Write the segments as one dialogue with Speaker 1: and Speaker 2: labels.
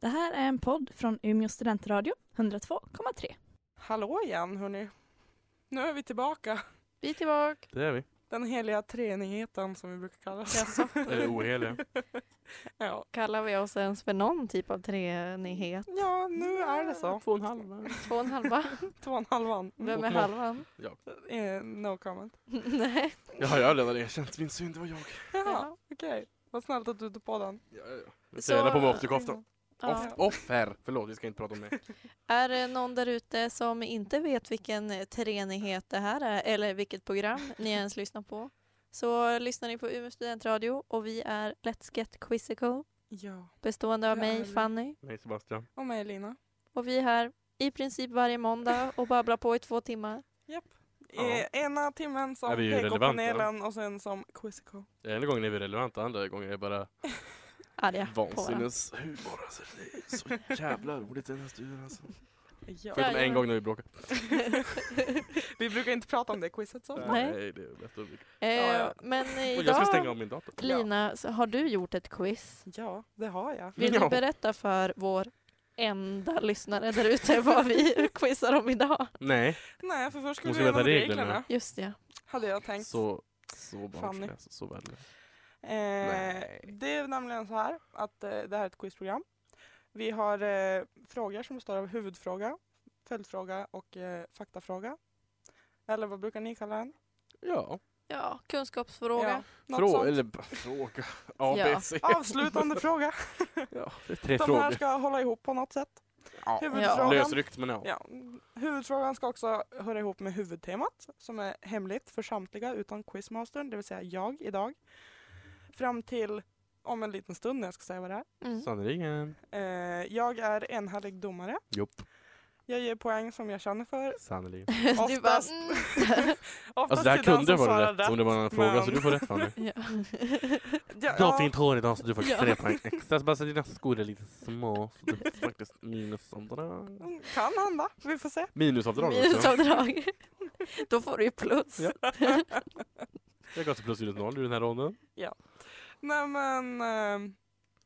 Speaker 1: Det här är en podd från Umeå studentradio, 102,3.
Speaker 2: Hallå igen hörni. Nu är vi tillbaka.
Speaker 3: Vi är tillbaka.
Speaker 4: Det är vi.
Speaker 2: Den heliga treenigheten som vi brukar kalla oss.
Speaker 3: Jaså,
Speaker 4: Eller oheliga.
Speaker 2: Ja.
Speaker 3: kallar vi oss ens för någon typ av treenighet?
Speaker 2: ja, nu är det så.
Speaker 4: Två och en halv.
Speaker 3: Två och en halva?
Speaker 2: Två och en halvan.
Speaker 3: Vem är
Speaker 4: Åt noll.
Speaker 3: halvan?
Speaker 2: Eh, no comment.
Speaker 3: Nej.
Speaker 4: Jag har jag redan erkänt, min synd var jag.
Speaker 2: Ja,
Speaker 3: Ja.
Speaker 2: okej. Vad snällt att du tog på den.
Speaker 4: Ja, ja, ja.
Speaker 3: Så-
Speaker 4: Så... på mig afterkoftan.
Speaker 3: Ja.
Speaker 4: Off- Offer! Förlåt, vi ska inte prata om det.
Speaker 3: Är det någon där ute som inte vet vilken treenighet det här är eller vilket program ni ens lyssnar på så lyssnar ni på Umeå studentradio och vi är Let's Get Quizzical
Speaker 2: Ja.
Speaker 3: bestående av
Speaker 2: Ja,
Speaker 3: mig
Speaker 2: härligt.
Speaker 3: Fanny
Speaker 4: Nej Sebastian.
Speaker 2: Och mig Lina.
Speaker 3: och vi är här i princip varje måndag och babblar på i två timmar.
Speaker 2: Eh, ena timmen som
Speaker 4: Är vi ju relevanta?
Speaker 2: PK-panelen och sen som Quizzico.
Speaker 4: Ena gången är vi relevanta, andra gången är det bara
Speaker 3: Arga på varandra.
Speaker 4: vansinneshumor. Alltså. Det är så jävla roligt i den här studion alltså.
Speaker 2: Ja.
Speaker 4: Förutom en
Speaker 3: Jajamän.
Speaker 4: gång när vi bråkade.
Speaker 2: vi brukar inte prata om det quizet så.
Speaker 3: Nej.
Speaker 4: det är bäst att undvika.
Speaker 2: Ja,
Speaker 3: Eh,
Speaker 2: ja.
Speaker 3: men
Speaker 4: Och jag ska stänga
Speaker 3: idag
Speaker 4: av min dator.
Speaker 3: Lina, så har du gjort ett quiz?
Speaker 2: Ja, det har jag.
Speaker 3: Vill
Speaker 4: Ja.
Speaker 3: du berätta för vår enda lyssnare där ute vad vi quizar om idag?
Speaker 4: Nej,
Speaker 2: Nej, för först skulle
Speaker 4: Måste
Speaker 2: vi
Speaker 4: veta
Speaker 2: igenom reglerna.
Speaker 4: reglerna.
Speaker 3: Just det.
Speaker 2: Hade jag tänkt.
Speaker 4: så, så
Speaker 2: Fanny.
Speaker 4: barnslig alltså. Så värdelös.
Speaker 2: Eh, det är nämligen så här att eh, det här är ett quizprogram. Vi har eh, frågor som består av huvudfråga, följdfråga och eh, faktafråga. Eller vad brukar ni kalla den?
Speaker 4: Ja,
Speaker 3: Ja, kunskapsfråga.
Speaker 2: något
Speaker 4: Frå
Speaker 2: sånt.
Speaker 4: eller b- fråga. A,
Speaker 3: Ja.
Speaker 4: B, C.
Speaker 2: Avslutande fråga.
Speaker 4: Ja, det är tre
Speaker 2: De här
Speaker 4: frågor.
Speaker 2: ska hålla ihop på något sätt.
Speaker 4: Ja.
Speaker 2: Huvudfrågan.
Speaker 4: Lösryckt men ja.
Speaker 2: Ja. Huvudfrågan ska också höra ihop med huvudtemat som är hemligt för samtliga utan quizmastern, det vill säga jag idag. Fram till om en liten stund när jag ska säga vad det är.
Speaker 3: Mm.
Speaker 4: Sannerligen.
Speaker 2: Eh, jag är enhällig domare.
Speaker 4: Jopp,
Speaker 2: Jag ger poäng som jag känner för
Speaker 4: sannerligen.
Speaker 3: Du bara,
Speaker 2: Oftast-
Speaker 3: mm.
Speaker 2: Oftast
Speaker 4: Alltså det här
Speaker 2: till den
Speaker 4: kunde
Speaker 2: som
Speaker 4: vara
Speaker 2: svarar
Speaker 4: rätt om det var en annan fråga, så
Speaker 2: men-
Speaker 4: du får rätt Fanny.
Speaker 3: ja.
Speaker 2: Ja,
Speaker 4: Du har
Speaker 2: ja,
Speaker 4: fint hår idag så du får
Speaker 3: Ja.
Speaker 4: tre poäng extra. Så bara så dina skor är lite små, så du får faktiskt minusavdrag.
Speaker 2: kan hända. Vi får se.
Speaker 4: Minusavdrag också.
Speaker 3: Minusavdrag. Då får du ju plus.
Speaker 4: Ja. Jag går till plus minus noll i den här ronden.
Speaker 2: Nej men, eh,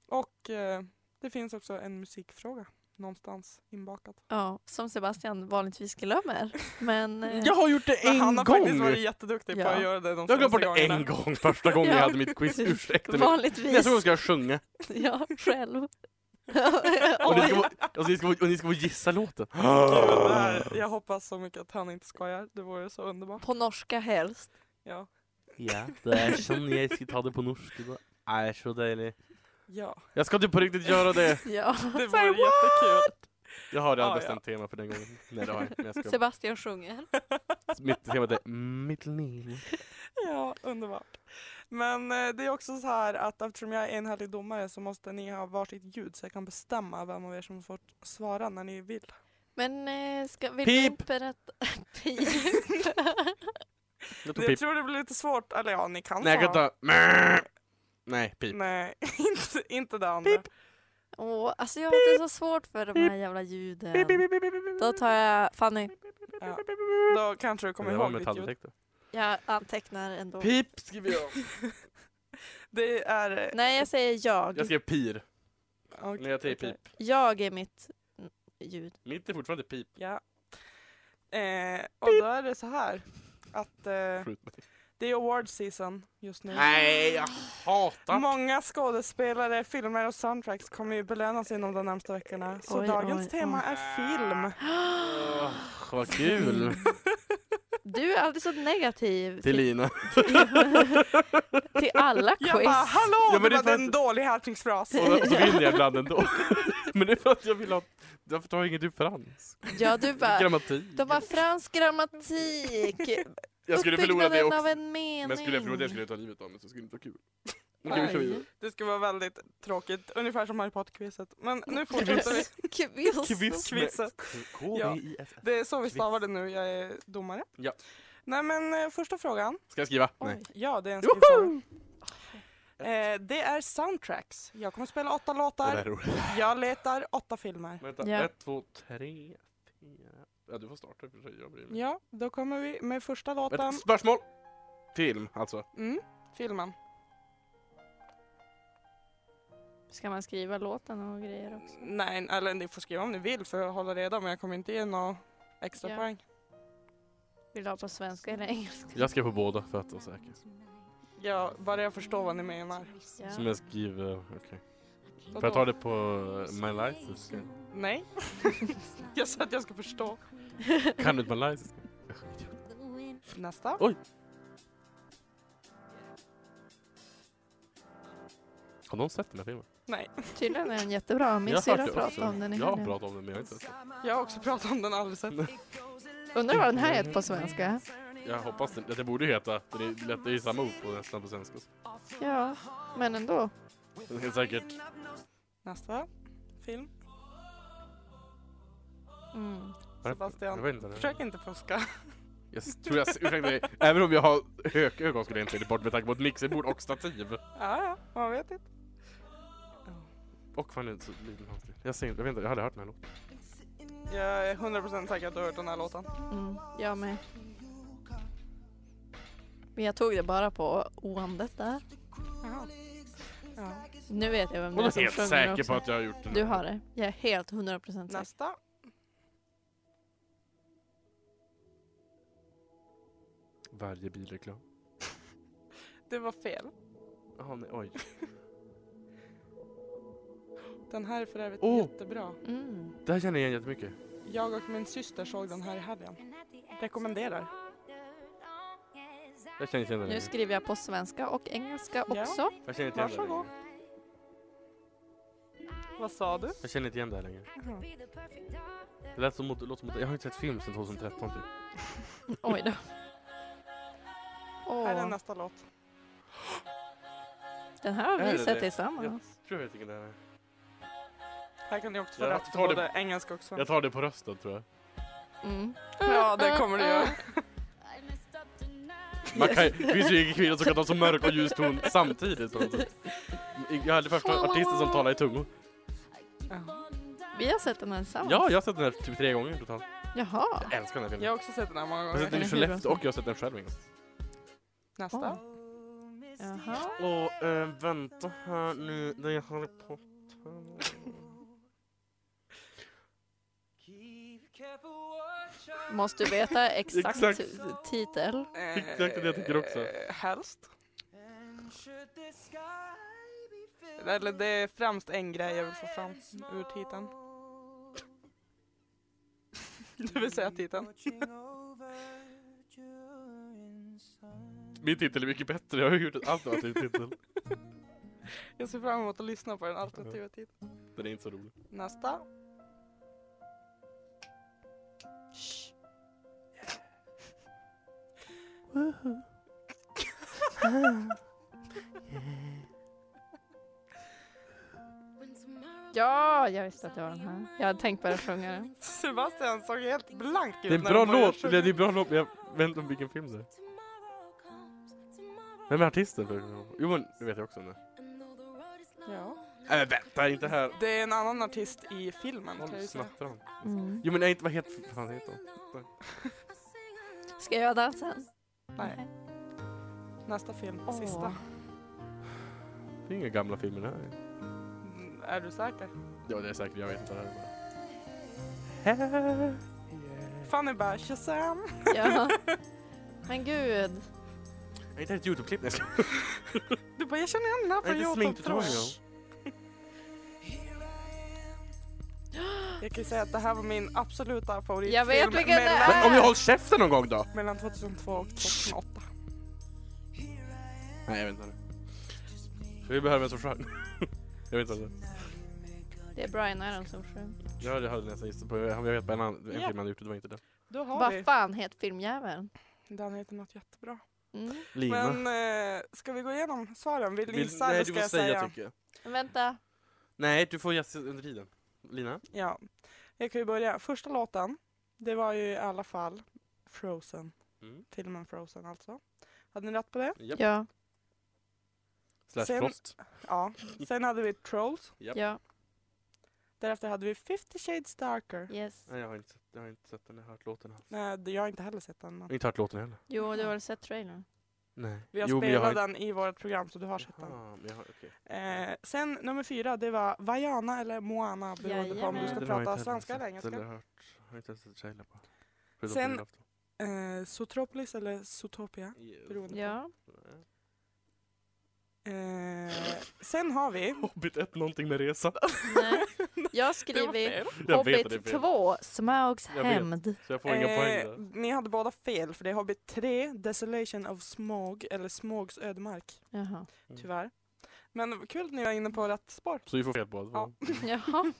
Speaker 2: och eh, det finns också en musikfråga någonstans inbakat.
Speaker 3: Ja, som Sebastian vanligtvis glömmer. Men eh,
Speaker 4: Jag har gjort det
Speaker 2: Men han
Speaker 4: en
Speaker 2: har
Speaker 4: gång!
Speaker 2: faktiskt varit jätteduktig på
Speaker 3: Ja.
Speaker 2: att göra det de
Speaker 4: Jag har glömt
Speaker 2: senaste
Speaker 4: bort det en
Speaker 2: gångerna.
Speaker 4: gång första gången jag
Speaker 3: Ja.
Speaker 4: hade mitt quiz. Ursäkta mig.
Speaker 3: vanligtvis.
Speaker 4: Nästa gång ska jag sjunga.
Speaker 3: Ja, själv.
Speaker 4: Och ni
Speaker 3: Oj.
Speaker 4: ska, få- och ni ska, få- och ni ska få gissa låten.
Speaker 2: Gud, det här, jag hoppas så mycket att han inte skojar. Det vore så underbart.
Speaker 3: På norska helst.
Speaker 2: Ja.
Speaker 4: Ja, det är som jag ska ta det på norska. Det är så dejligt.
Speaker 2: ja.
Speaker 4: Jag ska typ på riktigt göra det.
Speaker 3: Ja.
Speaker 2: Det vore jättekul.
Speaker 4: Jag har redan
Speaker 2: Ah, ja.
Speaker 4: bestämt tema för den gången. Nej det har jag inte, men jag ska
Speaker 3: Sebastian sjunger.
Speaker 4: Mitt tema är mitt liv.
Speaker 2: Ja, underbart. Men eh, det är också så här att eftersom jag är enhällig domare så måste ni ha varsitt ljud så jag kan bestämma vem av er som får svara när ni vill.
Speaker 3: Men eh, ska, vill
Speaker 4: Pip!
Speaker 3: vi berätta... Pip!
Speaker 4: Jag tog
Speaker 2: Det, jag
Speaker 4: pip.
Speaker 2: tror det blir lite svårt, eller ja ni kan
Speaker 4: Nej jag kan
Speaker 2: svara.
Speaker 4: ta... Nej, pip.
Speaker 2: Nej, inte, inte det andra.
Speaker 3: Åh, alltså jag har inte så svårt för de här jävla ljuden. Då tar jag Fanny.
Speaker 2: Ja. Då kanske du kommer
Speaker 4: Det var
Speaker 2: ihåg ditt ljud.
Speaker 4: metalldetektor.
Speaker 3: Jag antecknar ändå.
Speaker 4: Pip skriver jag.
Speaker 2: Det är... eh,
Speaker 3: Nej, jag säger jag.
Speaker 4: Jag skrev pir.
Speaker 2: okej,
Speaker 4: Nej jag säger
Speaker 2: okej.
Speaker 4: pip.
Speaker 3: Jag är mitt mm, ljud.
Speaker 4: Mitt är fortfarande pip.
Speaker 2: Ja. Eh, och då är det så här att eh,
Speaker 4: Skjut mig.
Speaker 2: det är award season just nu.
Speaker 4: Nej jag hatar...
Speaker 2: Många skådespelare, filmer och soundtracks kommer ju belönas inom de närmsta veckorna. Så
Speaker 3: Oj,
Speaker 2: dagens
Speaker 3: oj,
Speaker 2: tema
Speaker 3: oj.
Speaker 2: är film.
Speaker 4: Åh, Vad kul!
Speaker 3: Du är alltid så negativ
Speaker 4: Till
Speaker 3: till,
Speaker 4: Lina.
Speaker 3: till alla quiz.
Speaker 2: Jag bara hallå!
Speaker 4: Ja, men
Speaker 2: det
Speaker 4: det är
Speaker 2: var
Speaker 4: för att-
Speaker 2: en dålig hälsningsfras.
Speaker 4: Och och så vinner jag ibland ändå. Men det är för att jag vill ha... Varför tar jag inget ur fransk?
Speaker 3: Ja, du bara...
Speaker 4: Grammatik.
Speaker 3: De har fransk grammatik.
Speaker 4: Jag skulle förlora det
Speaker 3: Uppbyggnaden
Speaker 4: också.
Speaker 3: av en mening.
Speaker 4: Men skulle jag förlora det skulle jag ta livet av mig så det skulle inte vara kul. Nu kan vi köra vidare.
Speaker 3: Oj.
Speaker 2: Det skulle vara väldigt tråkigt, ungefär som Harry Potter-quizet. Men nu fortsätter vi.
Speaker 3: Quiz.
Speaker 4: Quiz med
Speaker 2: Quizet.
Speaker 4: K-V-I-S.
Speaker 2: Det är så vi stavar det nu, jag är domare.
Speaker 4: Ja.
Speaker 2: Nej men eh, första frågan.
Speaker 4: Ska jag skriva? Nej.
Speaker 3: Oj.
Speaker 2: Ja, det är en
Speaker 4: Woho!
Speaker 2: skrivfråga. Eh, det är soundtracks. Jag kommer spela åtta
Speaker 4: Det där
Speaker 2: låtar.
Speaker 4: är roligt.
Speaker 2: Jag letar åtta filmer.
Speaker 4: Vänta,
Speaker 3: Ja.
Speaker 4: ett, två, tre, fyra. Ja, du får starta i och för sig. Jag bryr mig.
Speaker 2: Ja, då kommer vi med första
Speaker 4: Vänta,
Speaker 2: låten.
Speaker 4: spörsmål! Film, alltså.
Speaker 2: Mm, filmen.
Speaker 3: Ska man skriva låten och grejer också?
Speaker 2: Nej, eller ni får skriva om ni vill för att hålla reda men jag kommer inte ge några extra
Speaker 3: Ja.
Speaker 2: poäng.
Speaker 3: Vill du ha på svenska eller engelska?
Speaker 4: Jag skrev på båda för att vara säker.
Speaker 2: Ja, bara jag förstår vad ni menar.
Speaker 4: Som jag skriver, okej.
Speaker 2: Vadå?
Speaker 4: Får jag ta det på eh, my life?
Speaker 2: Nej. jag sa att jag ska förstå.
Speaker 4: Kan du inte my life?
Speaker 2: Nästa.
Speaker 4: Oj. Har någon sett den här filmen?
Speaker 2: Nej.
Speaker 3: Tydligen är den jättebra. Min
Speaker 4: Jag har
Speaker 3: syrra
Speaker 4: hört det också.
Speaker 3: pratade om den i
Speaker 4: Jag har
Speaker 3: helgen.
Speaker 4: pratat om den men jag har inte sett
Speaker 2: Jag har också pratat om den alldeles sett.
Speaker 3: Undrar vad den här heter på svenska?
Speaker 4: den. Jag hoppas den, det borde ju heta, för det är, lätt- det är ju samma ord på nästan på svenska. så.
Speaker 3: Ja, men ändå.
Speaker 4: Det är säkert
Speaker 2: Nästa film.
Speaker 3: Mm.
Speaker 4: Jag
Speaker 2: Sebastian.
Speaker 4: vet inte.
Speaker 2: Försök inte fuska.
Speaker 4: Jag s- tror jag, s- ursäkta mig, även om jag har hökögon skulle jag inte säga bort med tanke på ett mixerbord och stativ.
Speaker 2: Ja, ja, man vet inte.
Speaker 4: Och fan det är så liten handstil. Jag ser inte, jag vet inte, jag hade hört den här låten.
Speaker 2: Jag är 100% säker att du har hört den här låten.
Speaker 3: Mm. Jag med. Men jag tog det bara på oandet där.
Speaker 2: Jaha. Ja.
Speaker 3: Nu vet jag vem det är
Speaker 4: Och jag är
Speaker 3: som
Speaker 4: helt
Speaker 3: sjunger
Speaker 4: säker på
Speaker 3: också.
Speaker 4: att jag har gjort den.
Speaker 3: Du har det. Jag är helt 100% säker.
Speaker 2: Nästa.
Speaker 4: Varje bilreklam.
Speaker 2: Det var fel.
Speaker 4: Jaha, nej, oj.
Speaker 2: Den här är för övrigt
Speaker 4: Åh.
Speaker 2: jättebra.
Speaker 3: Mm.
Speaker 4: Det här känner jag igen jättemycket.
Speaker 2: Jag och min syster såg den här i helgen. Rekommenderar.
Speaker 4: Jag känner inte igen den.
Speaker 3: Nu skriver jag på svenska och engelska
Speaker 2: Ja.
Speaker 3: också.
Speaker 4: Jag känner inte igen den
Speaker 2: Varsågod.
Speaker 4: längre.
Speaker 2: Vad sa du?
Speaker 4: Jag känner inte igen det här längre.
Speaker 2: Jaha.
Speaker 4: Det lät som mot, låter som mot, jag har inte sett film sedan 2013 typ.
Speaker 3: Oj då.
Speaker 2: Här är
Speaker 3: Åh,
Speaker 2: nästa låt.
Speaker 3: den här har
Speaker 4: Är
Speaker 3: vi
Speaker 4: det
Speaker 3: sett
Speaker 4: det?
Speaker 3: tillsammans.
Speaker 4: Tror jag vet vilken det är.
Speaker 2: Här kan ni också få
Speaker 4: Jag
Speaker 2: rätt
Speaker 4: tar
Speaker 2: för
Speaker 4: det-
Speaker 2: både engelska och
Speaker 4: Jag
Speaker 2: svenska.
Speaker 4: tar det på rösten tror jag.
Speaker 3: Mm.
Speaker 2: Ja, det kommer du göra.
Speaker 4: Man kan, det finns ju ingen kvinna som kan ta så mörk och ljus ton samtidigt på något sätt. Jag hade första artisten som talade i tungor.
Speaker 2: Ja.
Speaker 3: Vi har sett den här tillsammans.
Speaker 4: Ja, jag har sett den här typ tre gånger totalt.
Speaker 3: Jaha.
Speaker 4: Jag älskar den här
Speaker 2: Jag
Speaker 4: filmen.
Speaker 2: har också sett den här många
Speaker 4: Jag har
Speaker 2: gånger.
Speaker 4: sett den
Speaker 3: Den
Speaker 4: i
Speaker 3: är
Speaker 4: Skellefteå
Speaker 3: hur
Speaker 4: och jag har sett den själv en gång.
Speaker 2: Nästa.
Speaker 3: Jaha.
Speaker 4: Och äh, vänta här nu, det är Harry Potter.
Speaker 3: Måste du veta exakt,
Speaker 4: Exakt.
Speaker 3: titel?
Speaker 4: Exakt det jag tycker också.
Speaker 2: Eh, Helst. Eller det är främst en grej jag vill få fram ur titeln. Det vill säga titeln.
Speaker 4: Min titel är mycket bättre, jag har gjort ett alternativ titel.
Speaker 2: Jag ser fram emot att lyssna på den alternativa titeln.
Speaker 4: Den är inte så rolig.
Speaker 2: Nästa.
Speaker 3: Ja, jag visste att det var den här. Jag hade tänkt bara sjunga den.
Speaker 2: Sebastian såg helt blank ut.
Speaker 4: Det är en
Speaker 2: när
Speaker 4: bra
Speaker 2: han började
Speaker 4: låt,
Speaker 2: sjunga.
Speaker 4: det är en bra låt, men jag vet inte om vilken film det är. Vem är artisten? för- Jo, men det vet jag också nu.
Speaker 2: Ja.
Speaker 4: Nej, men vänta, inte här.
Speaker 2: Det är en annan artist i filmen. Kan jag
Speaker 4: Håll
Speaker 2: ju säga.
Speaker 4: snattran.
Speaker 3: Mm.
Speaker 4: Jo, men nej, inte vad heter vad fan heter hon?
Speaker 3: Ska jag göra dansen?
Speaker 2: Nej. Nästa film.
Speaker 3: Åh.
Speaker 2: Sista.
Speaker 4: Det är inga gamla filmer det här.
Speaker 2: Mm, Är du säker?
Speaker 4: Ja, det är säkert, jag vet inte. Det här är bara...
Speaker 2: Fanny bara Shazam.
Speaker 3: Ja. Men gud.
Speaker 4: Jag hittade ett Youtube-klipp när jag skulle...
Speaker 2: Du bara jag känner igen den här
Speaker 4: Jag
Speaker 2: från
Speaker 4: hittade
Speaker 2: Youtube
Speaker 4: ett
Speaker 2: tror
Speaker 4: sminktutorial.
Speaker 2: jag. Jag kan ju säga att det här var min absoluta favoritfilm.
Speaker 3: Jag vet vilken det
Speaker 2: mellan,
Speaker 4: Men om jag håller käften någon gång då?
Speaker 2: mellan 2002 och 2008.
Speaker 4: Nej, jag vet inte. Vi behöver en som sjöng. Jag vet inte.
Speaker 3: Det är Brian Adams som sjöng.
Speaker 4: Jag hade hade nästan gissat på, jag vet på en, annan, en
Speaker 2: Ja.
Speaker 4: film han gjort, det var inte den.
Speaker 2: Då har
Speaker 3: Vad fan heter filmjäveln?
Speaker 2: vi. Den heter något jättebra.
Speaker 3: Mm.
Speaker 4: Lina.
Speaker 2: Men eh, ska vi gå igenom svaren? Vill
Speaker 4: Vill-
Speaker 2: Lisa eller
Speaker 4: nej,
Speaker 2: ska
Speaker 4: du får
Speaker 2: jag
Speaker 4: säga, typ.
Speaker 2: säga?
Speaker 4: tycker jag.
Speaker 3: Vänta.
Speaker 4: Nej, du får gissa under tiden. Lina?
Speaker 2: Ja, jag kan ju börja. Första låten, det var ju i alla fall Frozen.
Speaker 4: Mm.
Speaker 2: Filmen Frozen alltså. Hade ni rätt på det?
Speaker 4: Japp.
Speaker 3: Ja.
Speaker 4: Slash
Speaker 2: Sen-
Speaker 4: Frost.
Speaker 2: Ja. Sen hade vi Trolls.
Speaker 4: Japp.
Speaker 3: Ja.
Speaker 2: Därefter hade vi 50 Shades Darker.
Speaker 3: Yes.
Speaker 4: Nej, jag har inte sett, jag har inte sett den, jag har hört låten.
Speaker 2: Nej, det- jag har inte heller sett den. men-
Speaker 4: inte hört låten heller.
Speaker 3: Jo, du har sett trailern.
Speaker 4: Nej.
Speaker 2: Vi har
Speaker 4: Jo, men jag
Speaker 2: spelat
Speaker 4: har
Speaker 2: den i vårt program så du har sett den.
Speaker 4: Jaha, men jag har, okej.
Speaker 2: Eh, sen nummer fyra, det var Vajana eller Moana beroende på om du
Speaker 3: Jajamän.
Speaker 2: ska
Speaker 4: Den har jag inte
Speaker 2: prata
Speaker 4: heller
Speaker 2: svenska
Speaker 4: sett
Speaker 2: eller engelska.
Speaker 4: Eller hört, har inte ens sett trailern på. Förutom
Speaker 2: Sen-
Speaker 4: på julafton.
Speaker 2: Eh, Zootropolis eller Zootopia. Beroende på.
Speaker 3: Ja.
Speaker 2: Eh, sen har vi...
Speaker 4: Hobbit 1 någonting med resa.
Speaker 3: Nej. Jag
Speaker 2: Det var
Speaker 3: skriver
Speaker 2: fel.
Speaker 4: Jag vet att det är
Speaker 3: Hobbit
Speaker 4: fel.
Speaker 3: 2, Smaugs
Speaker 4: Jag vet.
Speaker 3: hämnd.
Speaker 4: Så jag får inga poäng
Speaker 2: Eh,
Speaker 4: där.
Speaker 2: ni hade båda fel för det är Hobbit 3, Desolation of Smog eller Smogs ödemark.
Speaker 3: Jaha.
Speaker 2: Tyvärr. Men kul att ni var inne på rätt spår.
Speaker 4: Mm. Så vi får fel båda.
Speaker 2: Ja.
Speaker 3: Jaha.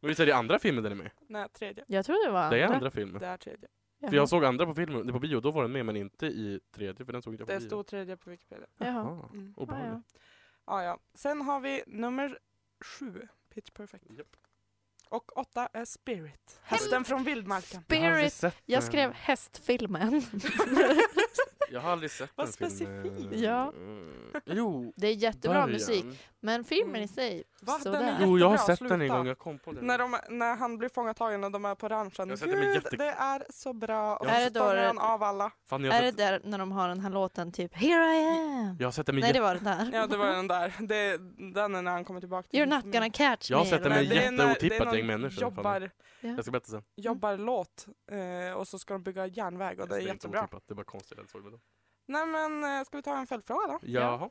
Speaker 4: Men visst är det andra filmen den är med?
Speaker 2: Nej, tredje.
Speaker 3: Jag trodde det var
Speaker 4: Det är
Speaker 3: andra.
Speaker 4: andra filmen.
Speaker 2: Det är tredje.
Speaker 4: För jag
Speaker 3: Jaha.
Speaker 4: såg andra på filmen, det på bio, då var den med men inte i tredje för den såg inte jag på
Speaker 2: Det
Speaker 4: bio.
Speaker 2: stod tredje på Wikipedia.
Speaker 3: Jaha.
Speaker 4: Ah,
Speaker 2: Mm.
Speaker 3: Ah, ja.
Speaker 4: obehagligt.
Speaker 2: Ja, ja. Sen har vi nummer sju, Pitch Perfect.
Speaker 4: Japp.
Speaker 2: Och åtta är Spirit, hästen från vildmarken.
Speaker 4: Jag har aldrig
Speaker 3: Spirit.
Speaker 4: sett
Speaker 3: Jag
Speaker 4: den.
Speaker 3: skrev hästfilmen.
Speaker 4: Jag har aldrig sett
Speaker 2: Vad
Speaker 4: den filmen.
Speaker 2: specifikt.
Speaker 3: Ja.
Speaker 4: Mm. Jo.
Speaker 3: Det är jättebra
Speaker 4: början.
Speaker 3: musik, men filmen
Speaker 2: Mm.
Speaker 3: i sig,
Speaker 2: Va? Den är
Speaker 3: sådär.
Speaker 2: jätte-
Speaker 4: Jo, jag har
Speaker 2: Jättebra,
Speaker 4: sett den en
Speaker 2: sluta.
Speaker 4: gång, jag kom på den.
Speaker 2: När, de, när han blir fångatagen och de är på ranchen.
Speaker 4: Jag har sett den
Speaker 2: Gud,
Speaker 4: med jätte-
Speaker 2: det är så bra! Och
Speaker 4: Jag har
Speaker 2: så
Speaker 3: sett-
Speaker 2: spångar
Speaker 3: Är det då-
Speaker 2: han av alla.
Speaker 4: Fan, jag, har
Speaker 3: Är det
Speaker 4: sett,
Speaker 3: där när de har den här låten typ Here I am?
Speaker 4: jag har sett den med
Speaker 3: Nej,
Speaker 4: jätte...
Speaker 3: det var den där.
Speaker 2: Ja, det var den där. Det, den är när han kommer tillbaka
Speaker 3: You're not gonna catch
Speaker 4: Jag har
Speaker 3: me.
Speaker 4: sett den
Speaker 3: eller
Speaker 4: med
Speaker 3: vad det
Speaker 2: det är när-
Speaker 4: jätteotippat
Speaker 2: det är någon
Speaker 4: gäng människor, fan.
Speaker 3: Mm.
Speaker 2: Jobbar,
Speaker 3: var.
Speaker 4: Jag ska berätta sen.
Speaker 2: jobbarlåt eh, och så ska de bygga järnväg och det är
Speaker 4: inte
Speaker 2: jättebra.
Speaker 4: otippat, Det var konstigt att jag såg den.
Speaker 2: Nej men eh, ska vi ta en följdfråga då?
Speaker 4: Jaha.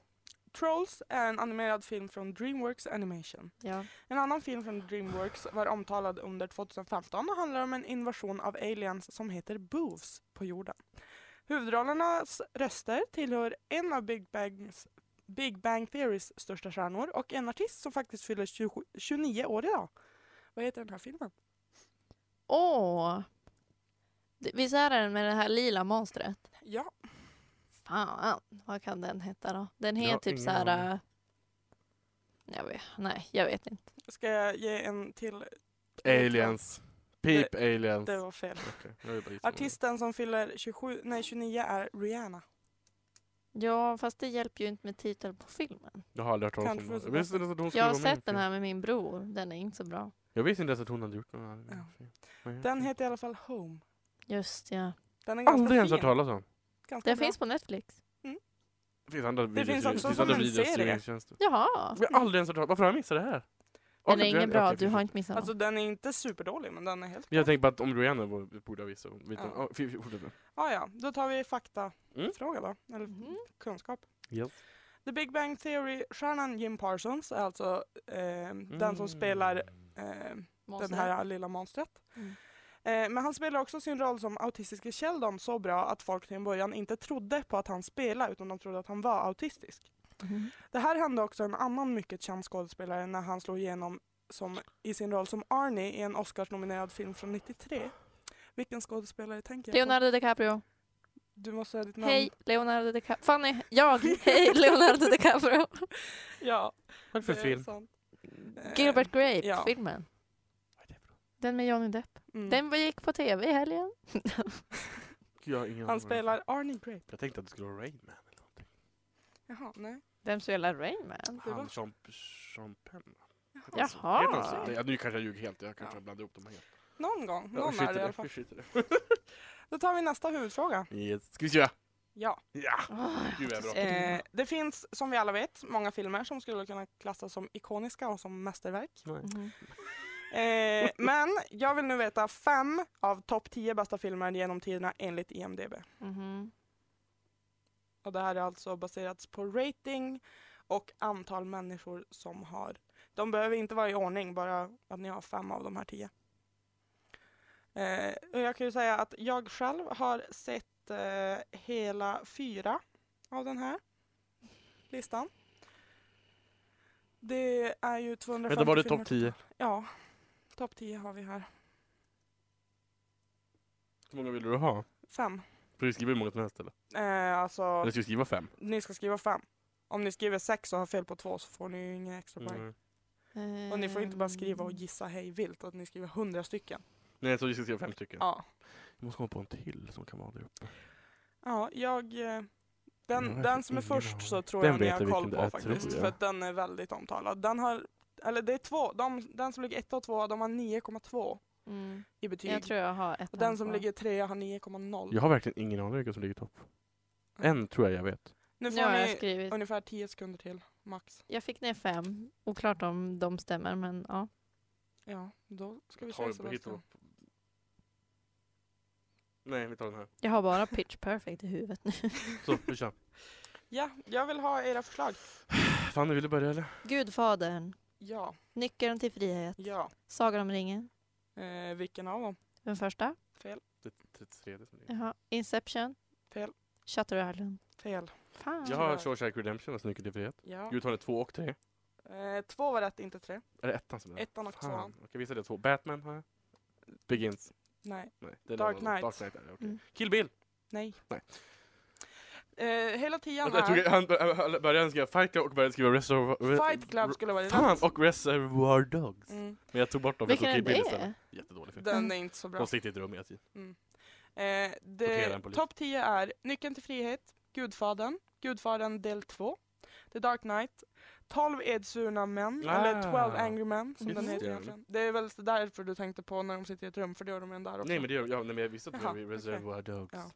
Speaker 2: Trolls är en animerad film från Dreamworks Animation.
Speaker 3: Ja.
Speaker 2: En annan film från Dreamworks var omtalad under 2015 och handlar om en invasion av aliens som heter Boves på jorden. Huvudrollernas röster tillhör en av Big, Bangs, Big Bang Theorys största stjärnor och en artist som faktiskt fyller 20, 29 år idag. Vad heter den här filmen?
Speaker 3: Åh! Det- Visst är den med det här lila monstret?
Speaker 2: Ja,
Speaker 3: Fan, vad kan den heta då? Den
Speaker 4: Jag
Speaker 3: heter
Speaker 4: har
Speaker 3: typ
Speaker 4: ingen
Speaker 3: så här...
Speaker 4: aning.
Speaker 3: äh, Jag vet, nej, jag vet inte.
Speaker 2: ska jag ge en till?
Speaker 4: Aliens. Peep aliens.
Speaker 2: Det var fel.
Speaker 4: Okej, nu är det bara gissningar.
Speaker 2: Artisten som fyller 27, nej 29 är Rihanna.
Speaker 3: Ja, fast det hjälper ju inte med titeln på filmen.
Speaker 4: Jag har aldrig hört talas
Speaker 2: Kanske
Speaker 4: om
Speaker 2: får
Speaker 4: den.
Speaker 2: vi
Speaker 4: Visst är det så att hon skulle
Speaker 3: Jag har
Speaker 4: vara med i en
Speaker 3: sett den
Speaker 4: film?
Speaker 3: här med min bror. Den är inte så bra.
Speaker 4: Jag visste inte ens att hon hade gjort den.
Speaker 2: Ja.
Speaker 4: Här. filmen.
Speaker 2: Den heter i alla fall Home.
Speaker 3: Just ja.
Speaker 2: Den är ganska
Speaker 4: Aldrig ens
Speaker 2: fin.
Speaker 4: hört talas om.
Speaker 2: Ganska
Speaker 3: Den
Speaker 2: bra.
Speaker 3: finns på Netflix.
Speaker 4: Det finns andra videos-
Speaker 2: finns också som
Speaker 4: andra
Speaker 2: en
Speaker 4: videos-
Speaker 2: serie.
Speaker 4: streamingtjänster.
Speaker 3: Jaha!
Speaker 4: Jag har aldrig ens hört talas om. Varför har jag missat det här?
Speaker 3: Den
Speaker 4: Okej,
Speaker 3: är ingen
Speaker 4: okej,
Speaker 3: bra,
Speaker 4: okej,
Speaker 3: du har
Speaker 4: fortsätt.
Speaker 3: inte missat
Speaker 2: Alltså
Speaker 3: något.
Speaker 2: den är inte superdålig men den är helt
Speaker 4: Jag tänkte bara att om Rihanna var- borde ha visat. Vita.
Speaker 2: Ja.
Speaker 4: Ja. fi- fi- fortsätt nu.
Speaker 2: Ah, ja, då tar vi
Speaker 4: Mm.
Speaker 2: faktafråga då, eller
Speaker 3: Mhm.
Speaker 2: kunskap.
Speaker 4: Yes.
Speaker 2: The Big Bang Theory-stjärnan Jim Parsons är alltså eh, den som
Speaker 4: Mm.
Speaker 2: spelar eh, den
Speaker 3: Monster.
Speaker 2: här lilla monstret.
Speaker 3: Mm.
Speaker 2: Eh, men han spelar också sin roll som autistiske Sheldon så bra att folk till en början inte trodde på att han spelade utan de trodde att han var autistisk.
Speaker 3: Mhm.
Speaker 2: Det här hände också en annan mycket känd skådespelare när han slog igenom som, i sin roll som Arnie i en Oscars-nominerad film från 93. Vilken skådespelare tänker jag på?
Speaker 3: Leonardo DiCaprio.
Speaker 2: Du måste säga ditt namn.
Speaker 3: Hej Leonardo DiCaprio. Fanny, jag. Hej Leonardo DiCaprio.
Speaker 2: Ja,
Speaker 4: Vad är det för
Speaker 2: det är
Speaker 4: film?
Speaker 2: sant. Eh,
Speaker 3: Gilbert Grape,
Speaker 2: ja.
Speaker 3: filmen.
Speaker 4: Vad är det för film?
Speaker 3: Den med Johnny Depp.
Speaker 2: mm.
Speaker 3: Den vi gick på tv i helgen.
Speaker 4: Jag har ingen aning vad det är
Speaker 2: Han
Speaker 4: för
Speaker 2: spelar Arnie Grape.
Speaker 4: Jag tänkte att det skulle vara Rain Man. Eller någonting.
Speaker 2: Jaha, nej.
Speaker 3: Vem spelar Rain Man?
Speaker 2: Det
Speaker 4: Han
Speaker 2: var-
Speaker 4: Sean, Sean Penn.
Speaker 3: Jaha.
Speaker 4: Heter han så? Nej, nu kanske jag ljuger helt. Jag kanske
Speaker 2: Ja.
Speaker 4: blandar ihop dem helt.
Speaker 2: Någon gång.
Speaker 4: Ja,
Speaker 2: Någon
Speaker 4: skit i
Speaker 2: är det i alla fall.
Speaker 4: Vi skiter i det.
Speaker 2: Då tar vi nästa huvudfråga.
Speaker 4: Yes. Ska vi köra?
Speaker 2: Ja.
Speaker 4: Ja!
Speaker 3: Åh,
Speaker 4: Gud, vad bra.
Speaker 2: Eh, det finns, som vi alla vet, många filmer som skulle kunna klassas som ikoniska och som mästerverk.
Speaker 3: Mhm.
Speaker 2: Eh, men jag vill nu veta fem av topp 10 bästa filmer genom tiderna enligt IMDB.
Speaker 3: Mhm.
Speaker 2: Och det här är alltså baserat på rating och antal människor som har. De behöver inte vara i ordning, bara att ni har fem av de här tio. Eh, och jag kan ju säga att jag själv har sett eh, hela fyra av den här listan. Det är ju 250
Speaker 4: Vänta, var det
Speaker 2: filmer
Speaker 4: topp 10?
Speaker 2: totalt. Ja, topp 10 har vi här.
Speaker 4: Hur många vill du ha?
Speaker 2: Fem.
Speaker 4: Får vi skriva hur många som helst eller?
Speaker 2: Eh, alltså,
Speaker 4: Eller ska vi skriva fem?
Speaker 2: ni ska skriva fem. Om ni skriver sex och har fel på två så får ni ju inga extra poäng.
Speaker 4: Mm.
Speaker 2: Och ni får inte bara skriva och
Speaker 3: Ehm,
Speaker 2: gissa hej vilt, att ni skriver hundra stycken.
Speaker 4: Nej, jag tror vi ska skriva fem stycken.
Speaker 2: Ja.
Speaker 4: Vi måste komma på en till som kan vara där uppe.
Speaker 2: Ja, jag... eh,
Speaker 4: Jag
Speaker 2: Den,
Speaker 4: vet
Speaker 2: den som är
Speaker 4: Mm. ingen
Speaker 2: först
Speaker 4: aning.
Speaker 2: så tror
Speaker 4: Den
Speaker 2: jag ni
Speaker 4: vet
Speaker 2: har
Speaker 4: jag
Speaker 2: koll
Speaker 4: vilken
Speaker 2: på
Speaker 4: det är,
Speaker 2: faktiskt,
Speaker 4: tror jag.
Speaker 2: för att den är väldigt omtalad. Den har, eller det är två, de, den som ligger ett och två, de har 9,2
Speaker 3: Mm.
Speaker 2: i betyg.
Speaker 3: Jag tror jag har ett.
Speaker 2: och den
Speaker 3: namn
Speaker 2: som
Speaker 3: på.
Speaker 2: ligger trea har 9,0.
Speaker 4: Jag har verkligen ingen aning vilka som ligger i topp. En tror jag jag vet.
Speaker 2: Nu får
Speaker 3: Nu har jag
Speaker 2: ni
Speaker 3: skrivit.
Speaker 2: ungefär 10 sekunder till, max.
Speaker 3: Jag fick ner fem. Oklart om de stämmer, men ja.
Speaker 2: Ja, då ska vi
Speaker 4: Tar
Speaker 2: se
Speaker 4: vi på
Speaker 2: Sebastian.
Speaker 4: hit Nej, vi tar den här.
Speaker 3: Jag har bara pitch perfect i huvudet nu.
Speaker 4: Så, vi kör.
Speaker 2: Ja, jag vill ha era förslag.
Speaker 4: Fan, du ville börja eller?
Speaker 3: Gudfadern,
Speaker 2: Ja,
Speaker 3: Nyckeln till frihet,
Speaker 2: ja.
Speaker 3: Sagan om ringen,
Speaker 2: Eh, vilken av dem?
Speaker 3: den första,
Speaker 2: Fel,
Speaker 4: Det är 33 det som är.
Speaker 3: Jaha. Inception,
Speaker 2: fel,
Speaker 3: Shutter Island.
Speaker 2: fel.
Speaker 3: Fan.
Speaker 4: Jag har Shawshank Redemption, alltså Nyckeln till frihet.
Speaker 2: Ja.
Speaker 4: Gud, tar det två och tre?
Speaker 2: Eh, två var rätt, inte tre.
Speaker 4: Är det ettan som är det?
Speaker 2: Ettan och
Speaker 4: Fan,
Speaker 2: tvåan.
Speaker 4: okej vissa är det två. Batman har jag. Begins.
Speaker 2: Nej,
Speaker 4: Nej, det är
Speaker 2: Dark
Speaker 4: någon annan.
Speaker 2: Knight.
Speaker 4: Dark Knight är det, okej.
Speaker 3: Mm.
Speaker 4: Kill Bill!
Speaker 2: nej.
Speaker 4: Nej.
Speaker 2: Eh, hela tian
Speaker 4: Jag tog,
Speaker 2: här.
Speaker 4: han han äh, började skriva Fight Club och började skriva Reservoir...
Speaker 2: Fight Club skulle vara
Speaker 4: Fan!
Speaker 2: rätt.
Speaker 4: Och Reservoir Dogs.
Speaker 2: Mm,
Speaker 4: Men jag tog bort dem för jag
Speaker 3: Vilken är
Speaker 4: tog Kill Bill
Speaker 3: det?
Speaker 4: istället. Jättedålig film.
Speaker 2: den är inte så bra.
Speaker 4: De sitter i ett rum hela tiden.
Speaker 2: Eh,
Speaker 4: Sortera
Speaker 2: det-
Speaker 4: den på lite.
Speaker 2: Topp 10 är Nyckeln till frihet, Gudfadern, Gudfadern del 2, The Dark Knight, 12 edsvurna män,
Speaker 4: Ah.
Speaker 2: eller 12 angry men som
Speaker 4: Just
Speaker 2: den
Speaker 4: det.
Speaker 2: heter egentligen. Det är väl därför du tänkte på när de sitter i ett rum, för det gör de ju där också.
Speaker 4: Nej men det gör ja, nej, men jag visste att det
Speaker 2: Jaha,
Speaker 4: var Reservoir Dogs.
Speaker 2: Ja.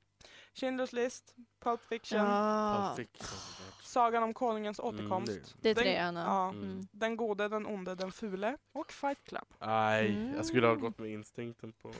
Speaker 2: Schindler's list, Pulp Fiction,
Speaker 3: Ja,
Speaker 4: Pulp Fiction, såklart.
Speaker 2: Sagan om konungens
Speaker 4: Mm,
Speaker 2: återkomst,
Speaker 3: det är
Speaker 2: Den-
Speaker 3: trean. ja.
Speaker 2: ja,
Speaker 4: Mm.
Speaker 3: Mm.
Speaker 2: Den gode, den onde, den fule och Fight Club.
Speaker 4: Nej,
Speaker 3: Mm.
Speaker 4: jag skulle ha gått med instinkten på...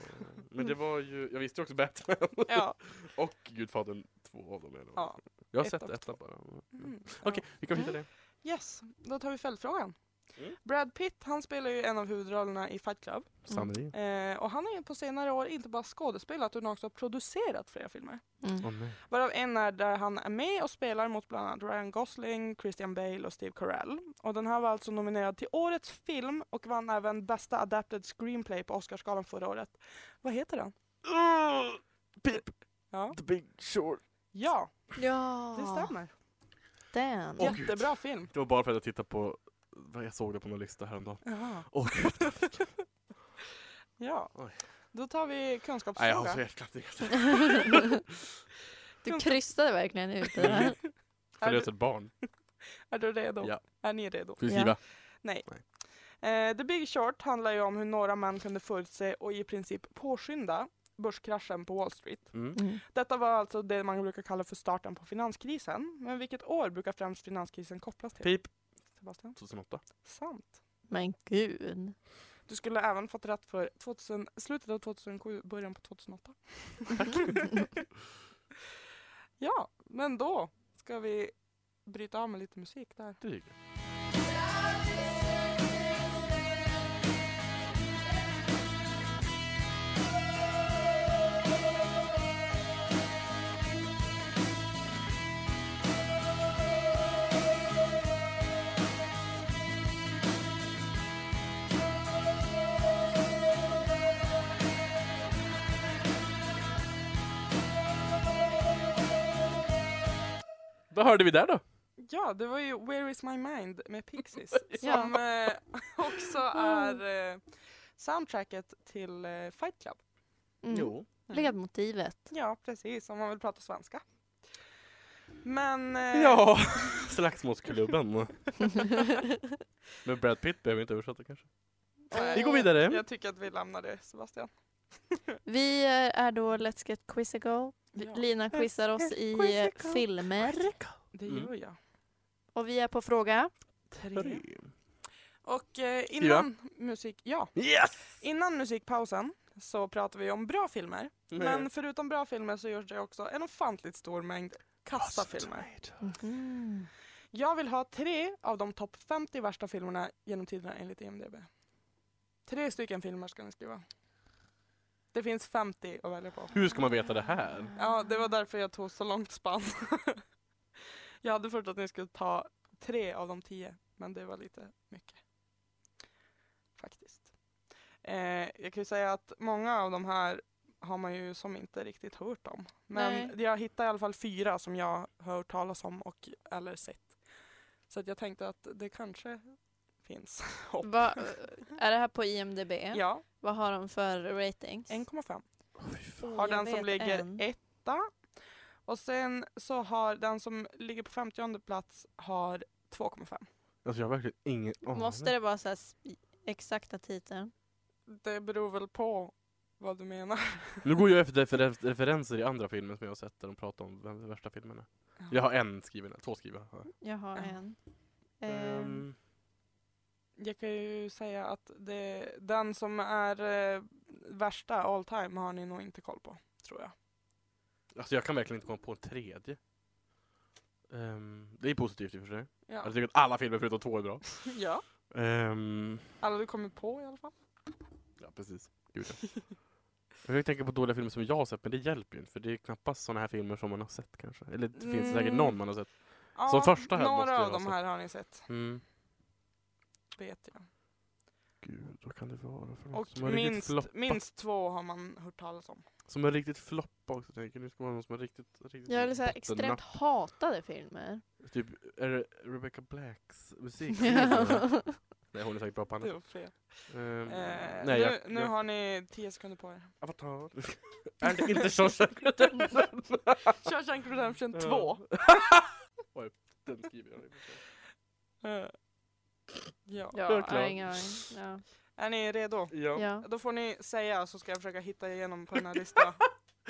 Speaker 4: Men det var ju, jag visste ju också Batman
Speaker 2: Mm. Ja,
Speaker 4: och Gudfadern, två av dem. Eller vad.
Speaker 2: ja.
Speaker 4: Jag har
Speaker 2: ett
Speaker 4: sett
Speaker 2: och
Speaker 4: ettan bara.
Speaker 2: Mm,
Speaker 4: Okej, vi kan hitta det.
Speaker 2: ja. Yes, då tar vi följdfrågan.
Speaker 4: Mm.
Speaker 2: Brad Pitt, han spelar ju en av huvudrollerna i Fight Club.
Speaker 4: Sannerligen.
Speaker 2: Eh, och han har ju på senare år inte bara skådespelat utan också producerat flera filmer.
Speaker 3: Mm.
Speaker 4: Åh nej.
Speaker 2: Varav en är där han är med och spelar mot bland annat Ryan Gosling, Christian Bale och Steve Carell. Och den här var alltså nominerad till Årets film och vann även bästa adapted screenplay på Oscarsgalan förra året. Vad heter den?
Speaker 4: Ugh, Pip,
Speaker 2: Ja,
Speaker 4: the big short.
Speaker 2: ja
Speaker 3: Ja,
Speaker 2: det stämmer.
Speaker 3: den.
Speaker 4: Ah. Åh, gud.
Speaker 2: Jättebra film.
Speaker 4: Det var bara för att jag tittade på, vad jag såg det på någon lista häromdagen.
Speaker 2: Jaha.
Speaker 4: Åh gud,
Speaker 2: Ja,
Speaker 4: Oj.
Speaker 2: då tar vi
Speaker 4: nej jag har
Speaker 2: kunskapsfråga.
Speaker 4: så hjärtklappning.
Speaker 3: Du kryssade verkligen ut det där.
Speaker 4: För
Speaker 2: Är
Speaker 4: det
Speaker 2: du-
Speaker 4: är ett barn.
Speaker 2: är du redo?
Speaker 4: Ja.
Speaker 2: Är ni redo?
Speaker 4: Ska vi
Speaker 3: Ja.
Speaker 4: skriva?
Speaker 2: Eh, The Big Short handlar ju om hur några män kunde förutse och i princip påskynda börskraschen på Wall Street.
Speaker 4: Mm.
Speaker 3: Mm.
Speaker 2: Detta var alltså det man brukar kalla för starten på finanskrisen. Men vilket år brukar främst finanskrisen kopplas till?
Speaker 4: Pip,
Speaker 2: Sebastian?
Speaker 4: 2008.
Speaker 2: Sant.
Speaker 3: Men gud.
Speaker 2: Du skulle även fått rätt för 2000, slutet av 2007, början på 2008. ja, men då ska vi bryta av med lite musik där.
Speaker 4: Det gick ju. Vad hörde vi där då?
Speaker 2: Ja, det var ju Where is my mind med Pixies
Speaker 3: Ja.
Speaker 2: som eh, också är eh, soundtracket till eh, Fight Club.
Speaker 3: Mm. Ledmotivet.
Speaker 2: Ja, precis, om man vill prata svenska. Men eh,
Speaker 4: Ja, Slagsmålsklubben. Men Brad Pitt behöver inte översätta kanske.
Speaker 2: eh,
Speaker 4: Vi går vidare.
Speaker 2: jag tycker att vi lämnar det Sebastian.
Speaker 3: Vi eh, är då Let's Get Quizzical. Vi-
Speaker 2: Ja.
Speaker 3: Lina quizar oss i eh,
Speaker 2: Quizzical.
Speaker 3: filmer.
Speaker 2: Det
Speaker 4: Mm.
Speaker 2: gör jag.
Speaker 3: Och vi är på fråga.
Speaker 2: Tre. Och eh,
Speaker 4: Skriva.
Speaker 2: innan, musik, ja,
Speaker 4: Yes!
Speaker 2: innan musikpausen så pratar vi om bra filmer.
Speaker 4: Mm.
Speaker 2: Men förutom bra filmer så görs det också en ofantligt stor mängd kassa filmer.
Speaker 3: Mhm.
Speaker 4: Mm.
Speaker 2: Jag vill ha tre av de topp 50 värsta filmerna genom tiderna enligt IMDB. Tre stycken filmer ska ni skriva. Det finns 50 att välja på.
Speaker 4: Hur ska man veta det här?
Speaker 2: Ja, det var därför jag tog så långt spann. jag hade förstått att ni skulle ta tre av de tio, men det var lite mycket. Faktiskt. Eh, jag kan ju säga att många av de här har man ju som inte riktigt hört om. Men jag hittade i alla fall fyra som jag har hört talas om och eller sett. Så att jag tänkte att det kanske finns hopp.
Speaker 3: Va, eh, är det här på IMDB?
Speaker 2: Ja,
Speaker 3: Vad har de för ratings?
Speaker 2: 1,5.
Speaker 4: Alltså,
Speaker 3: Oh,
Speaker 2: har
Speaker 3: jag
Speaker 2: den som
Speaker 3: vet
Speaker 2: ligger
Speaker 3: en.
Speaker 2: etta. Och sen så har den som ligger på 50 plats har 2,5.
Speaker 4: Alltså jag har verkligen ingen aning.
Speaker 3: Måste det vara så här sp- exakta titeln?
Speaker 2: Det beror väl på vad du menar.
Speaker 4: Nu går jag efter refer- referenser i andra filmer som jag har sett där de pratar om vem de värsta filmerna. Jag har en skriven, två skrivna.
Speaker 3: Jag har
Speaker 2: Ja.
Speaker 3: en. Ehm,
Speaker 4: Um,
Speaker 2: Jag kan ju säga att det, den som är eh, värsta all time har ni nog inte koll på, tror jag.
Speaker 4: alltså jag kan verkligen inte komma på en tredje. Ehm, det är positivt i och för sig.
Speaker 2: Ja,
Speaker 4: Jag tycker att alla filmer förutom två är bra.
Speaker 2: ja.
Speaker 4: Ehm,
Speaker 2: alla du kommer på i alla fall.
Speaker 4: ja, precis. Gud, ja. Jag försöker tänka på dåliga filmer som jag har sett, men det hjälper ju inte. För det är knappast sådana här filmer som man har sett kanske. Eller det finns det säkert
Speaker 2: Mm.
Speaker 4: någon man har sett.
Speaker 2: Ja,
Speaker 4: Som första här måste
Speaker 2: några
Speaker 4: jag
Speaker 2: av
Speaker 4: ha
Speaker 2: de
Speaker 4: sett.
Speaker 2: här har ni sett,
Speaker 4: Mm.
Speaker 2: vet jag.
Speaker 4: Gud, vad kan det vara för något
Speaker 2: Och
Speaker 4: Mm, som har riktigt
Speaker 2: minst,
Speaker 4: floppat?
Speaker 2: minst två har man hört talas om.
Speaker 4: Som har riktigt floppat också. Tänker. Nu ska man ha någon som har riktigt, riktigt
Speaker 3: jag vill säga
Speaker 4: bottennapp.
Speaker 3: extremt hatade filmer.
Speaker 4: Typ, är det Rebecca Blacks musik?
Speaker 3: Ja.
Speaker 4: Nej, hon är säkert bra på annat.
Speaker 2: Det var fel.
Speaker 4: Ehm,
Speaker 2: Eh,
Speaker 4: nej,
Speaker 2: nu
Speaker 4: jag,
Speaker 2: nu
Speaker 4: jag,
Speaker 2: har ni tio sekunder på er.
Speaker 4: Avatar. är det inte Shawshank Redemption?
Speaker 2: Shawshank Redemption
Speaker 4: Ja.
Speaker 2: 2.
Speaker 4: Oj, den skriver jag. inte.
Speaker 2: Eh, ja.
Speaker 3: Ja,
Speaker 4: Helt klart.
Speaker 3: jag ingen aning. Ja.
Speaker 2: Är ni redo?
Speaker 4: Ja.
Speaker 3: Ja.
Speaker 2: Då får ni säga så ska jag försöka hitta igenom på den här listan.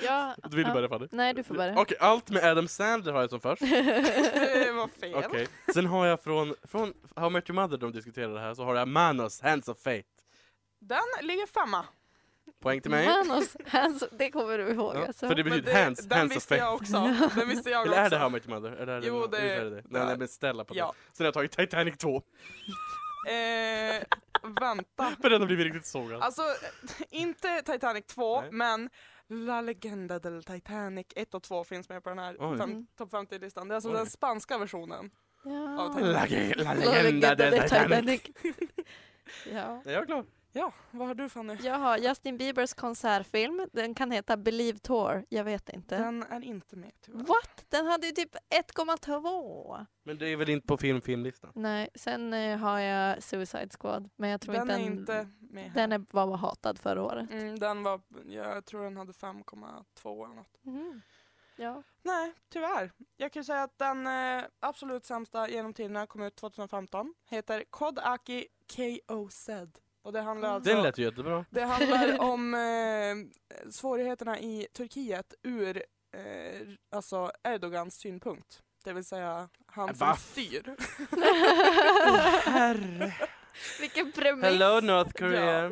Speaker 3: Ja.
Speaker 4: Du vill
Speaker 3: ja.
Speaker 4: börja Fanny?
Speaker 3: Nej, du får börja.
Speaker 4: Okej, allt med Adam Sandler har jag som först.
Speaker 2: det var fel.
Speaker 4: Okej. Sen har jag från, från How I Met Your Mother, de diskuterade det här, så har jag Manos, Hands of Fate.
Speaker 2: Den ligger femma.
Speaker 4: Poäng till mig.
Speaker 3: Manos, hands, det kommer du ihåg
Speaker 4: Ja,
Speaker 3: alltså.
Speaker 4: För det
Speaker 2: Men
Speaker 4: betyder
Speaker 2: det-
Speaker 4: hands,
Speaker 2: den
Speaker 4: hands of
Speaker 2: visste
Speaker 4: fate.
Speaker 2: jag också. Den visste jag
Speaker 4: Eller är det How I
Speaker 2: också.
Speaker 4: Met Your Mother? Är det,
Speaker 2: Jo, det-
Speaker 4: visst är det, det. Nej,
Speaker 2: det-
Speaker 4: nej, men Stella på
Speaker 2: Ja.
Speaker 4: det. Sen har jag tagit Titanic 2,
Speaker 2: Eh, vänta.
Speaker 4: för den har blivit riktigt sågad.
Speaker 2: Alltså, inte Titanic 2,
Speaker 4: Nej.
Speaker 2: men La Legenda del Titanic 1 och 2 finns med på den här
Speaker 4: Oj.
Speaker 2: fem,
Speaker 3: Mm.
Speaker 2: topp 50-listan. Det är alltså
Speaker 4: Oj.
Speaker 2: den spanska versionen.
Speaker 3: Ja.
Speaker 4: La, la
Speaker 3: La legenda
Speaker 4: legenda del
Speaker 3: de
Speaker 4: Titanic.
Speaker 3: ja.
Speaker 4: Är jag klar?
Speaker 2: Ja, vad har du Fanny?
Speaker 3: Jag har Justin Biebers konsertfilm. Den kan heta Believe Tour. Jag vet inte.
Speaker 2: Den är inte med tyvärr.
Speaker 3: What? Den hade ju typ 1,2.
Speaker 4: Men det är väl inte på film filmlistan?
Speaker 3: Nej, sen eh, har jag Suicide Squad. Men jag tror
Speaker 2: Den
Speaker 3: inte
Speaker 2: är
Speaker 3: den...
Speaker 2: inte med här.
Speaker 3: Den är, var bara hatad förra året.
Speaker 2: Mm, den var, jag tror den hade 5,2 eller något.
Speaker 3: Mhm. Ja.
Speaker 2: Nej, tyvärr. Jag kan ju säga att den eh, absolut sämsta genom tiderna kom ut 2015. Heter Kod Aki KOZ. Och det handlar alltså...
Speaker 4: Den lät ju jättebra.
Speaker 2: Det handlar om eh, svårigheterna i Turkiet ur eh, alltså Erdogans synpunkt. Det vill säga han som
Speaker 4: Va?
Speaker 2: styr.
Speaker 4: Herre.
Speaker 3: Vilken premiss!
Speaker 4: Hello North Korea.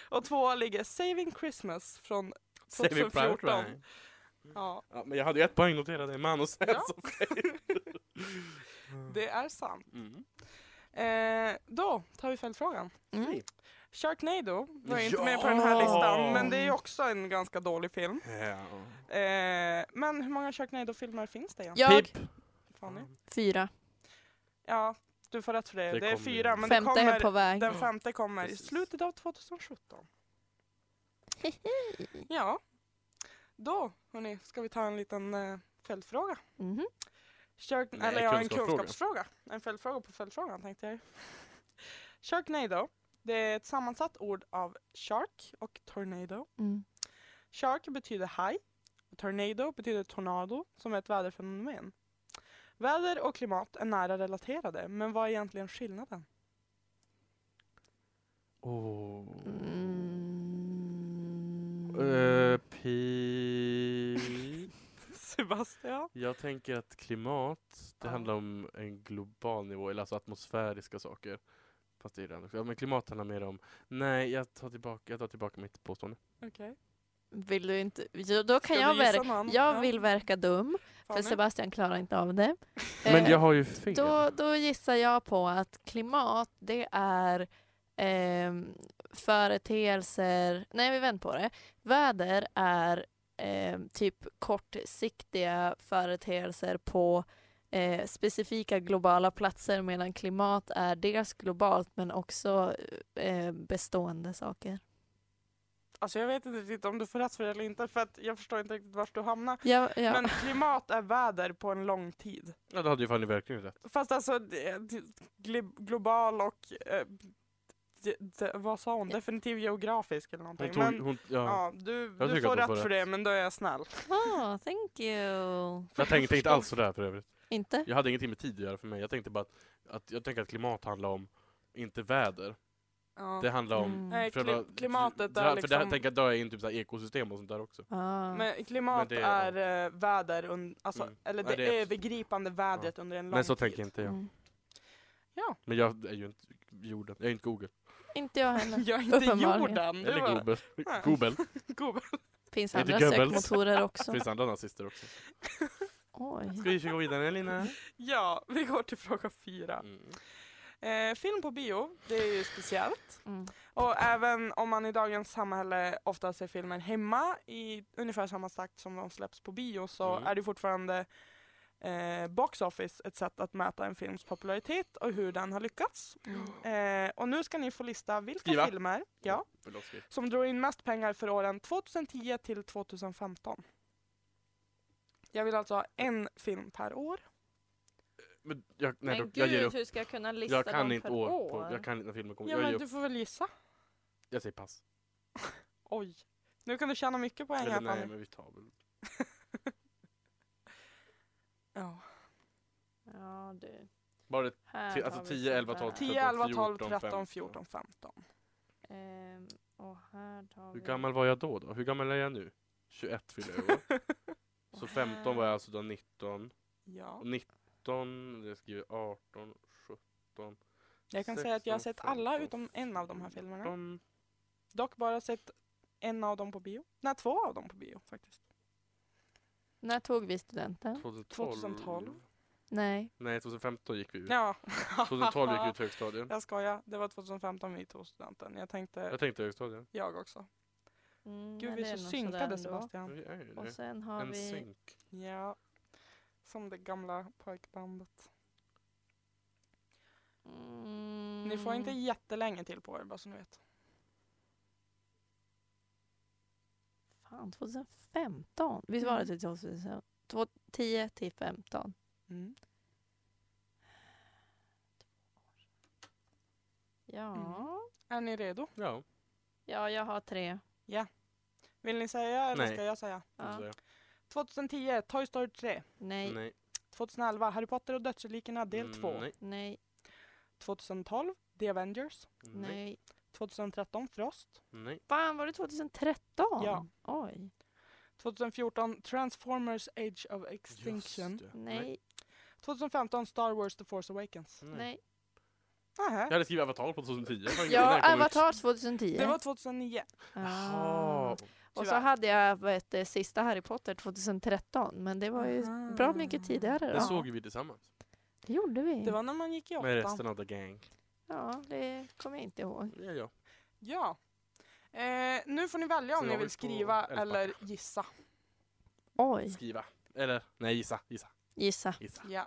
Speaker 2: Och två ligger Saving Christmas från
Speaker 4: Save it private
Speaker 2: 2014.
Speaker 4: Ryan.
Speaker 2: Ja,
Speaker 4: Ja, men jag hade ju ett poäng noterat, det är Manos
Speaker 2: Ja.
Speaker 4: hands of fate.
Speaker 2: det är sant.
Speaker 4: Mm.
Speaker 2: Eh, då tar vi följdfrågan.
Speaker 3: Mm.
Speaker 2: Sharknado var ju inte
Speaker 4: Ja!
Speaker 2: med på den här listan, men det är ju också en ganska dålig film.
Speaker 4: Ja.
Speaker 2: Eh, men hur många Sharknado-filmer finns det egentligen?
Speaker 3: Jag,
Speaker 4: Pip.
Speaker 2: Fanny?
Speaker 3: fyra.
Speaker 2: Ja, du får rätt för det.
Speaker 4: Det
Speaker 2: Det, är
Speaker 4: kommer ju.
Speaker 2: fyra, men det
Speaker 3: Femte är
Speaker 2: kommer
Speaker 3: på väg.
Speaker 2: Den femte kommer i
Speaker 4: Precis.
Speaker 2: slutet av 2017. Ja. Då, hörni, ska vi ta en liten eh, följdfråga.
Speaker 3: Mhm.
Speaker 2: Shark-
Speaker 4: Nej,
Speaker 2: eller ja, en
Speaker 4: kunskapsfråga.
Speaker 2: kunskapsfråga. En följdfråga på följdfrågan tänkte jag. Sharknado, det är ett sammansatt ord av shark och tornado.
Speaker 3: Mm.
Speaker 2: Shark betyder haj. och Tornado betyder tornado, som är ett väderfenomen. Väder och klimat är nära relaterade, men vad är egentligen skillnaden?
Speaker 4: Oh.
Speaker 3: Mm.
Speaker 4: Eh, pi...
Speaker 2: Sebastian?
Speaker 4: Jag tänker att klimat, det
Speaker 2: Ja.
Speaker 4: handlar om en global nivå, eller alltså atmosfäriska saker. Fast det är det andra också. Ja, men klimat handlar mer om... Nej, jag tar tillbaka, jag tar tillbaka mitt påstående.
Speaker 2: Okej.
Speaker 3: Vill du inte... Jo, Då kan
Speaker 2: Ska
Speaker 3: jag
Speaker 2: du gissa
Speaker 3: verka...
Speaker 2: någon? Ja.
Speaker 3: Jag vill verka dum, för
Speaker 2: Fanny?
Speaker 3: Sebastian klarar inte av det.
Speaker 4: Men
Speaker 3: Eh,
Speaker 4: jag har ju fel.
Speaker 3: Då, då gissar jag på att klimat, det är ehm, företeelser... Nej, vi vänder på det. Väder är ehm, typ kortsiktiga företeelser på eh, specifika globala platser medan klimat är dels globalt men också eh, bestående saker.
Speaker 2: Alltså jag vet inte riktigt om du får rätt för det eller inte för att jag förstår inte riktigt vart du hamnar.
Speaker 3: Ja, ja.
Speaker 2: Men klimat är väder på en lång tid.
Speaker 4: Ja, det hade ju Fanny verkligen rätt.
Speaker 2: Fast alltså det- det- gli- global och eh, det- det- vad sa hon? Definitiv geografisk eller någonting.
Speaker 4: Hon tog,
Speaker 2: men,
Speaker 4: hon, ja.
Speaker 2: ja, du,
Speaker 4: Jag
Speaker 2: du
Speaker 4: tycker
Speaker 2: får
Speaker 4: att hon
Speaker 2: rätt
Speaker 4: får
Speaker 2: för det men då är jag snäll.
Speaker 3: Ah, thank you.
Speaker 4: Jag tänkte inte alls sådär för övrigt.
Speaker 3: Inte?
Speaker 4: Jag hade ingenting med tid att göra för mig. Jag tänkte bara att, att, jag tänker att klimat handlar om, inte väder.
Speaker 2: Ja.
Speaker 4: Det handlar om...
Speaker 3: Mm.
Speaker 2: Nej,
Speaker 4: För,
Speaker 2: kli-
Speaker 4: då-
Speaker 2: klimatet
Speaker 4: dra-
Speaker 2: är
Speaker 4: För det här
Speaker 2: liksom...
Speaker 4: tänker jag drar jag in typ så här ekosystem och sånt där också.
Speaker 3: Ah.
Speaker 2: Men klimat
Speaker 4: Men det-
Speaker 2: är eh, väder, un, alltså,
Speaker 4: Mm.
Speaker 2: eller
Speaker 4: Ja,
Speaker 2: det,
Speaker 4: det är-
Speaker 2: övergripande vädret under en lång
Speaker 4: Men så
Speaker 2: tid.
Speaker 4: tänker inte jag.
Speaker 3: Mm.
Speaker 4: Men jag är ju inte jorden. Jag är inte Google.
Speaker 3: Inte jag heller.
Speaker 2: Jag är inte
Speaker 3: Uppenbarligen.
Speaker 2: jorden! Du
Speaker 4: Eller
Speaker 2: var...
Speaker 4: Google.
Speaker 2: Nej.
Speaker 4: Google.
Speaker 2: Google.
Speaker 3: Finns
Speaker 4: Är det
Speaker 3: andra
Speaker 4: Goebbels?
Speaker 3: sökmotorer också.
Speaker 4: Det finns andra nazister också.
Speaker 3: Oj.
Speaker 4: Ska vi gå vidare Lina?
Speaker 2: Ja, vi går till fråga fyra.
Speaker 4: Mm.
Speaker 2: Eh, film på bio, det är ju speciellt.
Speaker 3: Mm.
Speaker 2: Och även om man i dagens samhälle ofta ser filmer hemma i ungefär samma takt som de släpps på bio så
Speaker 4: Mm.
Speaker 2: är det fortfarande eh, Box Office ett sätt att mäta en films popularitet och hur den har lyckats. Eh, och nu ska ni få lista vilka
Speaker 4: Skriva.
Speaker 2: filmer ja,
Speaker 4: Förlåt, skriv.
Speaker 2: som drog in mest pengar för åren 2010 till 2015. Jag vill alltså ha en film per år.
Speaker 4: Men jag,
Speaker 3: Men
Speaker 4: nej, då,
Speaker 3: gud,
Speaker 4: jag ger upp.
Speaker 3: hur ska jag kunna lista
Speaker 4: Jag kan
Speaker 3: dem
Speaker 4: inte
Speaker 3: per
Speaker 4: år.
Speaker 3: år?
Speaker 4: På, jag kan inte när filmen kommer.
Speaker 2: Ja,
Speaker 4: jag,
Speaker 2: men
Speaker 4: ger upp.
Speaker 2: du får väl gissa.
Speaker 4: jag säger pass.
Speaker 2: Oj. Nu kan du tjäna mycket poäng
Speaker 4: Eller
Speaker 2: här
Speaker 4: nej,
Speaker 2: Fanny.
Speaker 4: men vi tar väl.
Speaker 2: Ja.
Speaker 3: Ja, du.
Speaker 4: Bara ett,
Speaker 3: Här
Speaker 4: Till-
Speaker 3: har
Speaker 4: alltså
Speaker 3: vi
Speaker 4: 10, 11,
Speaker 3: sådär.
Speaker 4: 12,
Speaker 2: 10, 11, 12,
Speaker 4: 13,
Speaker 2: 13,
Speaker 4: 14,
Speaker 2: 14, 15.
Speaker 3: Ehm, och här tar
Speaker 4: hur
Speaker 3: vi...
Speaker 4: gammal var jag då då? Hur gammal är jag nu? 21 fyller jag i år. Så 15 var jag alltså då 19.
Speaker 2: Ja.
Speaker 4: Och 19, det skriver 18, 17.
Speaker 2: Jag kan säga att jag har
Speaker 4: 16,
Speaker 2: sett alla
Speaker 4: 15,
Speaker 2: utom en av de här filmerna.
Speaker 4: 18.
Speaker 2: Dock bara sett en av dem på bio. Nej, två av dem på bio faktiskt.
Speaker 3: När tog vi studenten?
Speaker 4: 2012.
Speaker 2: 2012.
Speaker 3: Nej.
Speaker 4: Nej, 2015 gick vi ut.
Speaker 2: Ja.
Speaker 4: 2012 Mm. gick vi ut högstadiet.
Speaker 2: Jag skojar. Det var 2015 vi tog studenten. Jag tänkte
Speaker 4: Jag tänkte högstadiet.
Speaker 2: jag också.
Speaker 3: Mm,
Speaker 2: Gud,
Speaker 3: men
Speaker 2: vi
Speaker 3: det
Speaker 2: är så
Speaker 3: nog
Speaker 2: synkade
Speaker 3: sådär ändå.
Speaker 2: Sebastian.
Speaker 4: Vi är ju
Speaker 3: Och
Speaker 4: det.
Speaker 3: sen har
Speaker 4: En
Speaker 3: vi...
Speaker 4: synk.
Speaker 2: Ja. Som det gamla pojkbandet.
Speaker 3: Mm,
Speaker 2: Ni får inte jättelänge till på er, bara så ni vet.
Speaker 3: Fan, 2015? Visst var det typ till 2015? 10 till 15.
Speaker 2: Mm.
Speaker 3: Ja.
Speaker 2: Är ni redo?
Speaker 4: Ja,
Speaker 3: Mm. ja, jag har tre.
Speaker 2: Vill ni säga eller
Speaker 4: Nej.
Speaker 2: ska jag säga?
Speaker 4: ja.
Speaker 3: Ja.
Speaker 2: 2010, Toy Story 3.
Speaker 3: Nej, nej,
Speaker 4: Nej.
Speaker 2: 2011, Harry Potter och dödsrelikerna del 2.
Speaker 4: Mm, Nej.
Speaker 3: nej,
Speaker 2: 2012, The Avengers.
Speaker 4: Nej.
Speaker 2: 2013, Frost.
Speaker 4: Nej.
Speaker 3: Fan, var det 2013?
Speaker 2: Ja.
Speaker 3: Oj.
Speaker 2: 2014, Transformers Age of
Speaker 4: Just
Speaker 2: Extinction.
Speaker 4: det.
Speaker 3: Nej,
Speaker 2: 2015, Star Wars The Force Awakens.
Speaker 3: nej.
Speaker 4: Jag
Speaker 2: Nähä.
Speaker 4: hade skrivit Avatar på 2010. Det var ingen- när
Speaker 3: Ja,
Speaker 4: den kom ut.
Speaker 3: Avatar 2010.
Speaker 2: Det var 2009.
Speaker 3: Ah.
Speaker 4: Jaha.
Speaker 3: Och så
Speaker 2: tyvärr.
Speaker 3: hade jag vet, eh, sista Harry Potter 2013, men det var ju
Speaker 2: Aha.
Speaker 3: bra mycket tidigare.
Speaker 4: Det
Speaker 3: Då.
Speaker 2: Ja.
Speaker 4: såg vi tillsammans.
Speaker 3: Det gjorde vi.
Speaker 2: Det var när man gick i
Speaker 4: Med
Speaker 2: åttan.
Speaker 4: resten av the gang.
Speaker 3: Ja, det kommer jag inte ihåg.
Speaker 4: Ja, ja.
Speaker 2: Ja. Eh, nu får ni välja
Speaker 4: Så
Speaker 2: om ni
Speaker 4: var vi
Speaker 2: vill
Speaker 4: på
Speaker 2: skriva
Speaker 4: elva.
Speaker 2: eller gissa.
Speaker 3: Oj,
Speaker 4: Skriva. Eller nej, gissa, gissa,
Speaker 3: gissa.
Speaker 4: gissa.
Speaker 2: Ja.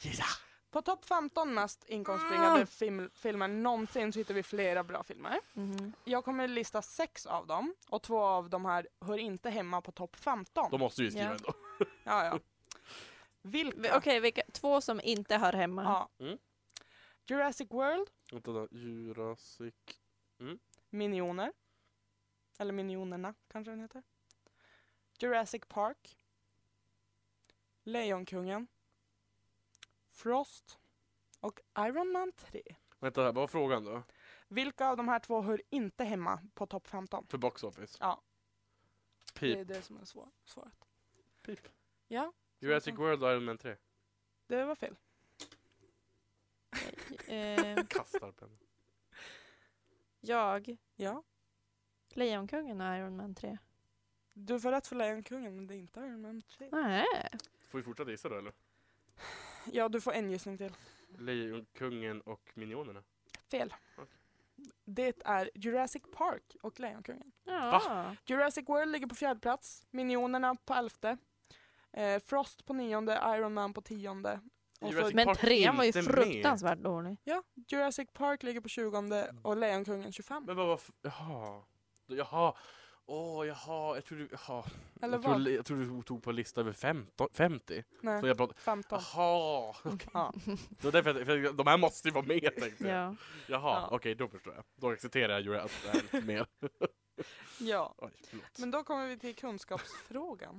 Speaker 4: Gissa!
Speaker 2: På topp 15 mest inkomstbringande film, filmer någonsin så hittar vi flera bra filmer.
Speaker 3: Mhm.
Speaker 2: Jag kommer lista sex av dem och två av de här hör inte hemma på topp 15.
Speaker 4: De måste ju skriva
Speaker 3: Ja.
Speaker 4: ändå.
Speaker 2: Ja, ja.
Speaker 3: Vi-
Speaker 2: Vilka?
Speaker 3: Okej, vilka, två som inte hör hemma.
Speaker 2: Ja.
Speaker 4: Mm.
Speaker 2: Jurassic World,
Speaker 4: Vänta då, Jurassic...
Speaker 2: Minioner. Eller Minionerna kanske den heter. Jurassic Park. Lejonkungen. Frost. Och Iron Man 3.
Speaker 4: Vänta, här, vad var frågan då?
Speaker 2: Vilka av de här två hör inte hemma på topp 15?
Speaker 4: För box office?
Speaker 2: Ja. Det är
Speaker 4: Pip.
Speaker 2: det som är svår, svaret.
Speaker 4: Pip.
Speaker 2: Ja,
Speaker 4: Jurassic World och Iron Man 3.
Speaker 2: det var fel.
Speaker 3: Eh,
Speaker 4: Kastar pennan.
Speaker 3: jag,
Speaker 2: Ja.
Speaker 3: Lejonkungen och Iron Man 3.
Speaker 2: Du får rätt för Lejonkungen, men det är inte Iron Man 3.
Speaker 3: Nej.
Speaker 4: Får vi fortsätta gissa då eller?
Speaker 2: Ja, du får en gissning till.
Speaker 4: Lejonkungen och Minionerna.
Speaker 2: Fel.
Speaker 4: Okej.
Speaker 2: Det är Jurassic Park och Lejonkungen.
Speaker 3: Ja.
Speaker 2: Jurassic World ligger på fjärde plats, Minionerna på elfte, eh, Frost på nionde, Iron Man på tionde. Och så-
Speaker 4: Jurassic
Speaker 3: Men
Speaker 4: Park
Speaker 3: trean var ju
Speaker 4: inte med.
Speaker 3: fruktansvärt dålig.
Speaker 2: Ja, Jurassic Park ligger på tjugonde och Lejonkungen 25.
Speaker 4: Men vad var... f- Jaha. Jaha. Åh, jaha. Jag trodde... Jaha.
Speaker 2: Eller
Speaker 4: jag, trodde,
Speaker 2: vad?
Speaker 4: jag trodde du tog på en lista över 15, 50. Så
Speaker 2: Nej,
Speaker 4: jag pratade...
Speaker 2: 15.
Speaker 4: Jaha.
Speaker 2: Ja.
Speaker 4: Det var därför jag, för jag- de här måste ju vara med tänkte jag.
Speaker 3: Ja.
Speaker 4: Jaha,
Speaker 2: Ja.
Speaker 4: okej då förstår jag. Då accepterar jag ju att det är lite mer.
Speaker 2: ja.
Speaker 4: Oj, förlåt.
Speaker 2: Men då kommer vi till kunskapsfrågan.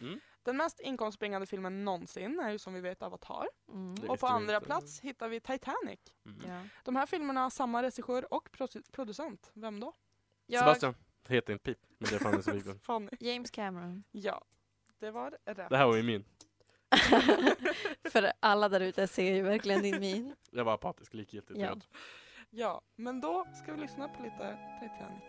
Speaker 3: Mm.
Speaker 2: Den mest inkomstbringande filmen någonsin är ju som vi vet Avatar.
Speaker 3: Mm.
Speaker 4: Det
Speaker 2: Och
Speaker 4: visste
Speaker 2: på
Speaker 4: vi
Speaker 2: andra
Speaker 4: inte.
Speaker 2: plats hittar vi Titanic.
Speaker 4: Mm.
Speaker 3: Ja.
Speaker 2: De här filmerna har samma regissör och produ- producent. Vem då?
Speaker 3: Jag,
Speaker 4: Sebastian, det heter inte pip, men det är fan en Sweden.
Speaker 2: Fanny.
Speaker 3: James Cameron.
Speaker 2: Ja, det var rätt.
Speaker 4: Det här var ju min.
Speaker 3: För alla där ute ser ju verkligen din min.
Speaker 4: Jag var apatisk, likgiltig.
Speaker 3: Ja.
Speaker 4: Ja.
Speaker 2: Ja, men då ska vi lyssna på lite Titanic.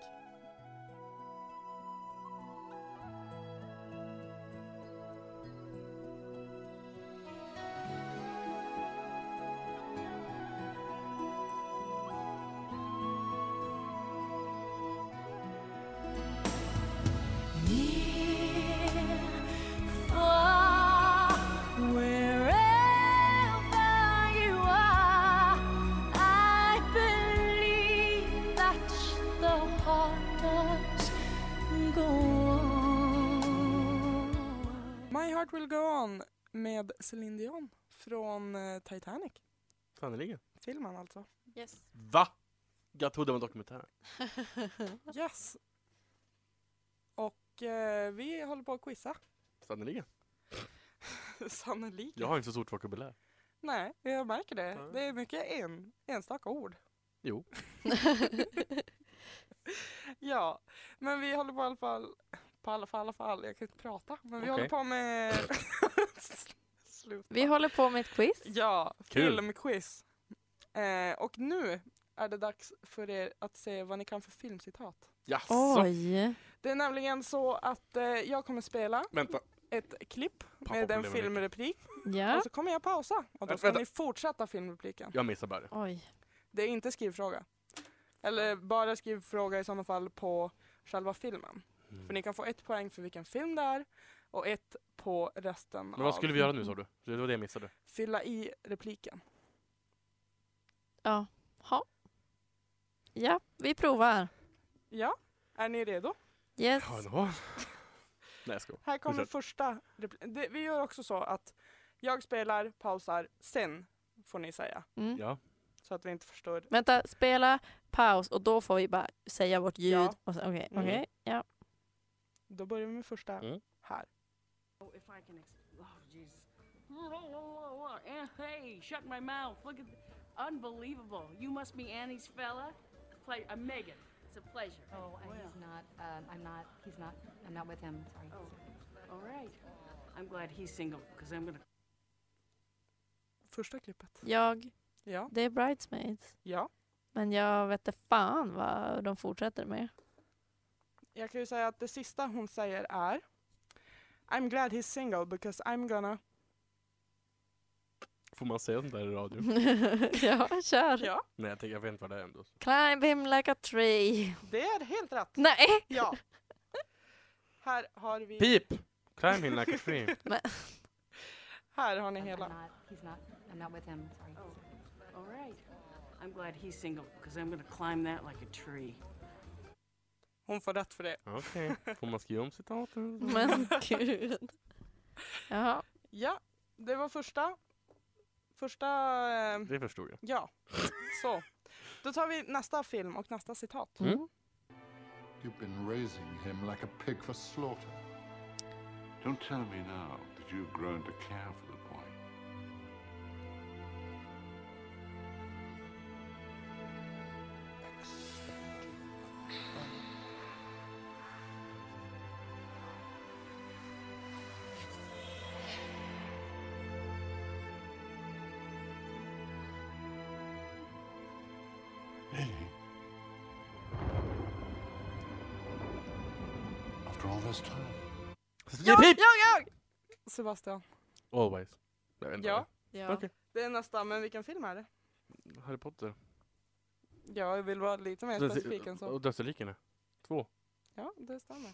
Speaker 2: My Heart Will Go On med Celine Dion från eh, Titanic.
Speaker 4: Sannerligen.
Speaker 2: Filmen alltså.
Speaker 3: Yes.
Speaker 4: Va? Jag trodde det var en dokumentär.
Speaker 2: Yes. Och eh, vi håller på att quizza.
Speaker 4: Sannerligen.
Speaker 2: Sannolikt.
Speaker 4: Jag har inte så stort vokabulär.
Speaker 2: Nej, jag märker det.
Speaker 4: Nej.
Speaker 2: Det är mycket en, enstaka ord.
Speaker 4: Jo.
Speaker 2: Ja, men vi håller på i alla fall, på alla fall, alla fall. jag kan inte prata, men vi
Speaker 4: Okej.
Speaker 2: håller på med Slut.
Speaker 3: Vi håller på med ett quiz.
Speaker 2: Ja,
Speaker 4: Kul.
Speaker 2: filmquiz. Eh, och nu är det dags för er att se vad ni kan för filmcitat.
Speaker 4: Jaså?
Speaker 3: Oj.
Speaker 2: Det är nämligen så att eh, jag kommer spela
Speaker 4: Vänta.
Speaker 2: ett klipp med
Speaker 4: Pappa
Speaker 2: en
Speaker 4: blev
Speaker 2: filmreplik
Speaker 3: Ja.
Speaker 2: och så kommer jag pausa och då
Speaker 4: Vänta,
Speaker 2: ska
Speaker 4: vänta.
Speaker 2: ni fortsätta filmrepliken.
Speaker 4: Jag missar bara det.
Speaker 3: Oj.
Speaker 2: Det är inte skrivfråga. Eller bara skrivfråga i sådana fall på själva filmen. Mm. För ni kan få ett poäng för vilken film det är och ett på resten
Speaker 4: Men vad skulle
Speaker 2: av
Speaker 4: vi göra nu sa
Speaker 2: Mm.
Speaker 4: du? Det var det jag missade.
Speaker 2: fylla i repliken.
Speaker 3: Ja. Ha. Ja, vi provar.
Speaker 2: Ja, är ni redo?
Speaker 3: Yes.
Speaker 4: Ja, då. Nej, jag skojar.
Speaker 2: Här kommer
Speaker 4: kör.
Speaker 2: första repli- det, Vi gör också så att jag spelar, pausar, sen får ni säga.
Speaker 3: Mm.
Speaker 4: Ja.
Speaker 2: Så att vi inte förstår.
Speaker 3: Vänta, spela, paus och då får vi bara säga vårt ljud.
Speaker 2: Ja.
Speaker 3: och så- Okej, okej.
Speaker 2: Mm.
Speaker 3: Ja.
Speaker 2: Då börjar vi med första
Speaker 4: Mm.
Speaker 2: här.
Speaker 5: Oh, if I can, ex- oh Jesus! Hey, shut my mouth! Look at, th- unbelievable! You must be Annie's fella. Ple- uh, Megan, it's a pleasure.
Speaker 6: Oh, uh, he's not. Um, I'm not. He's not. I'm not with him. Sorry.
Speaker 5: Oh, All right. I'm glad he's single because I'm gonna.
Speaker 2: Första klippet.
Speaker 3: Jag,
Speaker 2: Ja.
Speaker 3: det är Bridesmaids.
Speaker 2: ja.
Speaker 3: Men jag vet inte fan vad de fortsätter med.
Speaker 2: Jag kan ju säga att det sista hon säger är I'm glad he's single because I'm gonna...
Speaker 4: Får man säga sånt där i radio?
Speaker 3: ja, kör.
Speaker 2: Ja,
Speaker 4: Nej, jag, tänker, jag vet inte vad det är ändå.
Speaker 3: Climb him like a tree.
Speaker 2: det är helt rätt.
Speaker 3: Nej!
Speaker 2: Ja. Här har vi...
Speaker 4: Pip! Climb in like a tree.
Speaker 2: Här har ni
Speaker 6: I'm, I'm
Speaker 2: hela.
Speaker 6: not. He's not. I'm not with him. Sorry.
Speaker 5: All right. I'm glad he's single because I'm gonna climb that like a tree.
Speaker 2: Hon får rätt för det.
Speaker 4: Okej. Får man skriva om citaten?
Speaker 3: Men gud. Jaha.
Speaker 2: Ja, det var första. Första... Eh,
Speaker 4: Det förstod jag.
Speaker 2: ja. Så. Då tar vi nästa film och nästa citat.
Speaker 4: Mm.
Speaker 7: You've been raising him like a pig for slaughter.
Speaker 8: Don't tell me now that you've grown to care for the boy. Really? After all this time?
Speaker 2: Jag, jag,
Speaker 4: Pip!
Speaker 2: jag! Sebastian.
Speaker 4: Always. Jag vet inte
Speaker 2: Ja.
Speaker 3: Ja.
Speaker 4: Okej.
Speaker 2: Det är nästa, men vilken film är det?
Speaker 4: vad det är. Harry Potter.
Speaker 2: Ja, jag vill vara lite mer specifik än så.
Speaker 4: Och Dödsdelikerna. Två.
Speaker 2: Ja, det stämmer.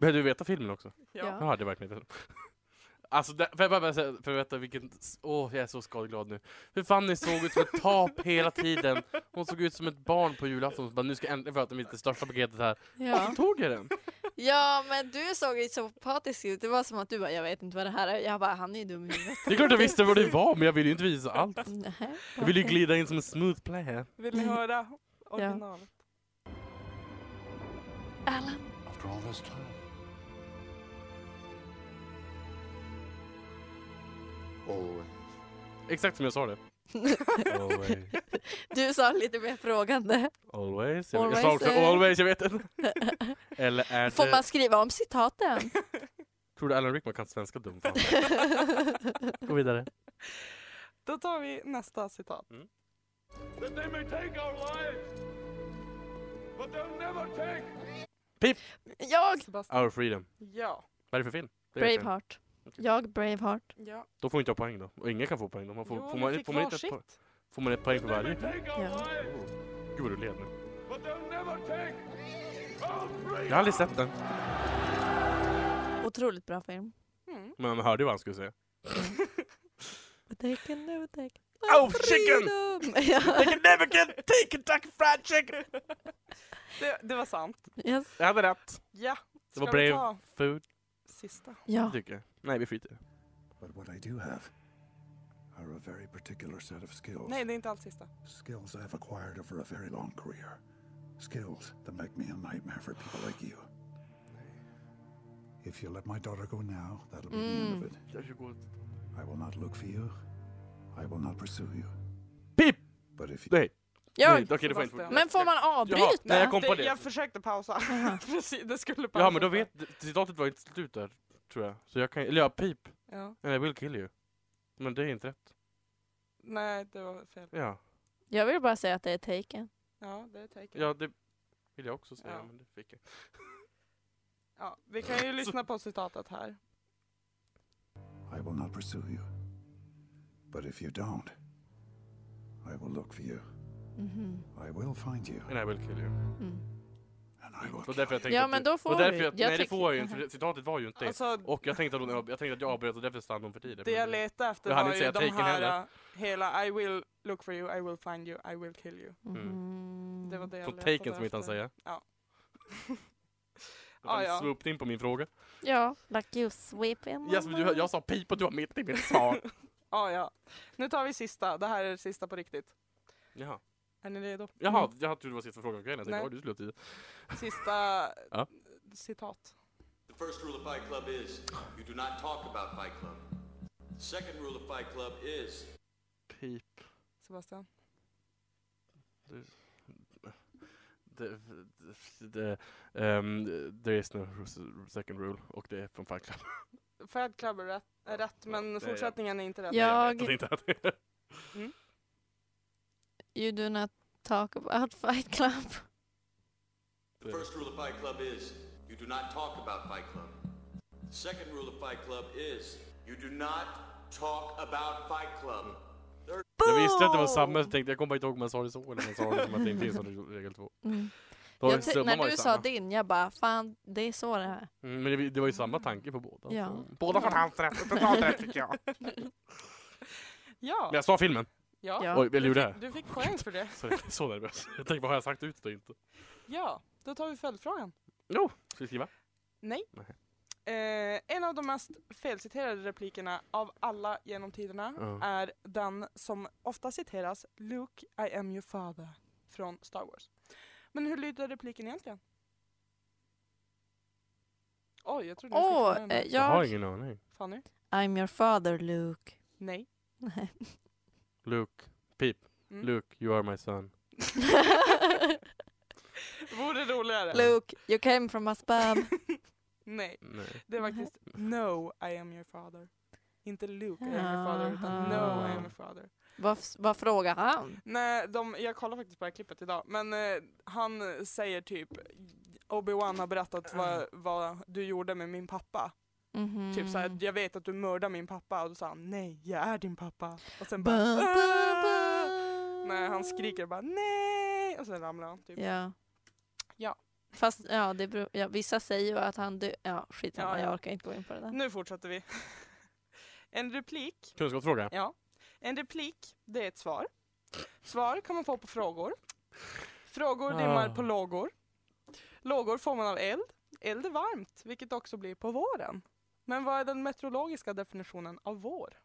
Speaker 4: Behöver du veta filmen också?
Speaker 2: Ja.
Speaker 4: Ja, det är verkligen inte. Alltså, det, för jag bara bara säga, för veta vilken... Åh, jag är så skadeglad nu. Hur Fanny såg ut som ett tap hela tiden. Hon såg ut som ett barn på julafton. Så Bara, nu ska jag äntligen få äta mitt det största paketet här. Och
Speaker 3: Ja.
Speaker 4: så tog jag den.
Speaker 3: ja, men du såg ju så apatisk ut. Det var som att du bara, jag vet inte vad det här är. Jag bara, han är ju dum i huvudet.
Speaker 4: Det är klart jag visste vad det var, men jag ville ju inte visa allt.
Speaker 3: Nej.
Speaker 4: Jag ville ju glida in som en smooth player.
Speaker 2: Vill ni höra originalet?
Speaker 3: Alan.
Speaker 7: After all this time? Always.
Speaker 4: Exakt som jag sa det. Always.
Speaker 3: Du sa lite mer frågande.
Speaker 4: Always. Jag, jag
Speaker 3: Always,
Speaker 4: sa också
Speaker 3: eh.
Speaker 4: always, jag vet inte. Eller är
Speaker 3: Får
Speaker 4: det...
Speaker 3: man skriva om citaten?
Speaker 4: Tror du Alan Rickman kan svenska dumfan? Gå vidare.
Speaker 2: Då tar vi nästa citat.
Speaker 8: That they may take our lives, but they'll never take
Speaker 3: Jag
Speaker 2: Sebastian.
Speaker 4: Our freedom.
Speaker 2: Ja.
Speaker 4: Vad är det för film? Det vet jag inte.
Speaker 3: Braveheart. Jag Braveheart.
Speaker 2: ja.
Speaker 4: Då får inte jag poäng då. Och ingen kan få poäng då. Man får,
Speaker 2: Jo,
Speaker 4: får,
Speaker 2: ni
Speaker 4: man,
Speaker 2: fick
Speaker 4: får, man inte ett
Speaker 2: varsitt.
Speaker 4: poäng, får man ett poäng för varje?
Speaker 3: Ja.
Speaker 4: Gud vad du led nu. Jag har aldrig sett den.
Speaker 3: Otroligt bra film.
Speaker 2: Mm.
Speaker 4: Men man hörde ju vad han skulle säga.
Speaker 3: They can do they can
Speaker 4: Oh, chicken!
Speaker 3: freedom. ja,
Speaker 4: They can never get take Kentucky Fried Chicken!
Speaker 2: Det, det var sant.
Speaker 3: yes.
Speaker 4: Jag hade rätt.
Speaker 2: Ja.
Speaker 4: Det var
Speaker 2: Ska vi
Speaker 4: brave
Speaker 2: ta
Speaker 4: food,
Speaker 2: Sista.
Speaker 3: ja.
Speaker 4: tycker jag. Nej, vi skiter i det.
Speaker 9: But what I do have are a very particular set of skills.
Speaker 2: Nej, det är inte alls sista.
Speaker 9: Skills I have acquired over a very long career. Skills that make me a nightmare for people like you. If you let my daughter go now, that'll be the end of it. I will not look for you. I will not pursue you.
Speaker 4: Pip!
Speaker 9: But if you...
Speaker 4: Nej! Nej,
Speaker 3: Jag.
Speaker 4: Okej, det får jag inte
Speaker 2: Sebastian.
Speaker 4: fortsätta.
Speaker 3: Men får man
Speaker 4: Jaha, nej
Speaker 3: avbryta?
Speaker 4: jag kom på
Speaker 2: det,
Speaker 4: det.
Speaker 2: jag försökte pausa. Precis, det skulle pausa.
Speaker 4: Ja men då vet, citatet var inte slut där, tror jag. Så jag kan, eller ja, pip.
Speaker 2: Ja.
Speaker 4: Eller I will kill you. Men det är inte rätt.
Speaker 2: Nej, det var fel.
Speaker 4: Ja,
Speaker 3: Jag vill bara säga att det är taken.
Speaker 2: Ja, det är taken. Ja.
Speaker 4: ja det vill jag också säga,
Speaker 2: Ja.
Speaker 4: men det fick jag.
Speaker 2: vi kan ju lyssna på citatet här.
Speaker 9: I will not pursue you. But if you don't, I will look for you.
Speaker 3: Mhm.
Speaker 9: I will find you.
Speaker 4: And I will kill you.
Speaker 3: Mm.
Speaker 9: And I will
Speaker 4: Och därför jag tänkte
Speaker 3: Ja,
Speaker 4: att
Speaker 3: men
Speaker 4: du-
Speaker 3: då får
Speaker 4: och därför
Speaker 3: du.
Speaker 4: jag,
Speaker 3: Jag
Speaker 4: Nej det
Speaker 3: tycker-
Speaker 4: får jag ju inte,
Speaker 3: Aha.
Speaker 4: för citatet var ju inte det.
Speaker 2: Alltså,
Speaker 4: Och jag tänkte att, hon- jag tänkte att jag avbröt och därför stannade hon för tidigt.
Speaker 2: det jag letade efter
Speaker 4: Jag hann
Speaker 2: var
Speaker 4: inte
Speaker 2: ju
Speaker 4: säga
Speaker 2: de
Speaker 4: taken
Speaker 2: här
Speaker 4: heller.
Speaker 2: eh, hela I will look for you, I will find you, I will kill you.
Speaker 3: Mm.
Speaker 2: Det var det jag
Speaker 4: Från
Speaker 2: letade
Speaker 4: taken som inte han
Speaker 2: efter.
Speaker 4: säga.
Speaker 2: Ja.
Speaker 4: Ah,
Speaker 2: Ah,
Speaker 4: ja.
Speaker 2: ja.
Speaker 4: Swooped in på min fråga.
Speaker 3: Ja, like you sweep in.
Speaker 4: Ja, men du, jag sa pip och du var mitt i mitt svar.
Speaker 2: Ja, ja. Nu tar vi sista. Det här är sista på riktigt.
Speaker 4: Jaha,
Speaker 2: Är ni redo?
Speaker 4: Jaha
Speaker 3: Mm.
Speaker 4: jag trodde det var sista frågan. Okej, jag tänkte,
Speaker 2: Nej.
Speaker 4: oj, du skulle ha tid.
Speaker 2: Sista
Speaker 4: Ja.
Speaker 2: citat.
Speaker 10: The first rule of Fight Club is you do not talk about Fight Club. The second rule of Fight Club is
Speaker 4: Pip.
Speaker 2: Sebastian.
Speaker 4: The, the, um, there is no r- second rule och det är från Fight Club.
Speaker 2: Fad Club är rätt, är rätt men
Speaker 4: det är jag.
Speaker 2: fortsättningen är inte rätt.
Speaker 4: Jag
Speaker 3: Jag,
Speaker 4: vet
Speaker 3: Mm.
Speaker 4: att det inte är det.
Speaker 3: you do not talk about fight club.
Speaker 10: the first rule of Fight Club is you do not talk about Fight Club. The second rule of Fight Club is you do not talk about Fight Club.
Speaker 4: Jag visste att det var samma, så tänkte jag, jag kommer bara inte ihåg om jag sa det så eller om jag sa det som att det inte är som regel två.
Speaker 3: Mm.
Speaker 4: Då
Speaker 3: Jag te-
Speaker 4: summan
Speaker 3: när
Speaker 4: var ju
Speaker 3: du sa
Speaker 4: samma.
Speaker 3: din, jag bara fan, det är så det här.
Speaker 4: Mm, men det, det var ju samma tanke på båda.
Speaker 3: Ja.
Speaker 4: så. Båda får halvt rätt, totalt rätt fick jag. Men
Speaker 2: Ja.
Speaker 4: jag sa filmen.
Speaker 2: ja.
Speaker 3: Ja.
Speaker 4: Oj, eller gjorde jag det?
Speaker 2: Du fick poäng för det.
Speaker 4: Så jag är så nervös. Jag tänkte, vad har jag sagt ut och inte?
Speaker 2: Ja, då tar vi följdfrågan.
Speaker 4: Jo, ska vi skriva?
Speaker 2: Nej.
Speaker 4: Nej.
Speaker 2: Eh, en av de mest felciterade replikerna av alla genom tiderna
Speaker 4: Ja.
Speaker 2: är den som ofta citeras, Luke, I am your father, från Star Wars. Men hur lyder repliken egentligen? Oj, jag trodde du skulle
Speaker 3: Åh,
Speaker 2: kunna den
Speaker 3: eh,
Speaker 2: här.
Speaker 4: Jag har
Speaker 3: jag,
Speaker 4: ingen aning.
Speaker 2: Fanny?
Speaker 3: I'm your father Luke.
Speaker 2: Nej.
Speaker 3: Nej.
Speaker 4: Luke, Pip,
Speaker 2: Mm.
Speaker 4: Luke, you are my son.
Speaker 2: Vore roligare.
Speaker 3: Luke, you came from a spam.
Speaker 2: Nej,
Speaker 4: Nej.
Speaker 2: det är
Speaker 3: Mhm.
Speaker 2: faktiskt No, I am your father. Inte Luke, I am your father, utan
Speaker 3: Aha.
Speaker 2: No, I am your father.
Speaker 3: vad, vad frågar han?
Speaker 2: Nej, de, jag kollade faktiskt på det här klippet idag, men eh, han säger typ Obi-Wan har berättat
Speaker 3: Mm.
Speaker 2: vad, vad du gjorde med min pappa.
Speaker 3: Mhm.
Speaker 2: Typ såhär, jag vet att du mördade min pappa och då sa han nej, jag är din pappa. Och sen bara
Speaker 3: Ba, ba, ba.
Speaker 2: "Ah!" Nej, han skriker bara nej och sen ramlar han typ.
Speaker 3: Ja.
Speaker 2: Ja.
Speaker 3: Fast ja, det beror, ja, vissa säger ju att han dö- Ja, skitsamma,
Speaker 2: Ja, ja.
Speaker 3: jag orkar inte gå in på det där.
Speaker 2: Nu fortsätter vi. en replik,
Speaker 4: Kunskapsfråga.
Speaker 2: ja. En replik, det är ett svar. Svar kan man få på frågor. Frågor dimmar
Speaker 4: Ah.
Speaker 2: på lågor. Lågor får man av eld. Eld är varmt, vilket också blir på våren. Men vad är den meteorologiska definitionen av vår?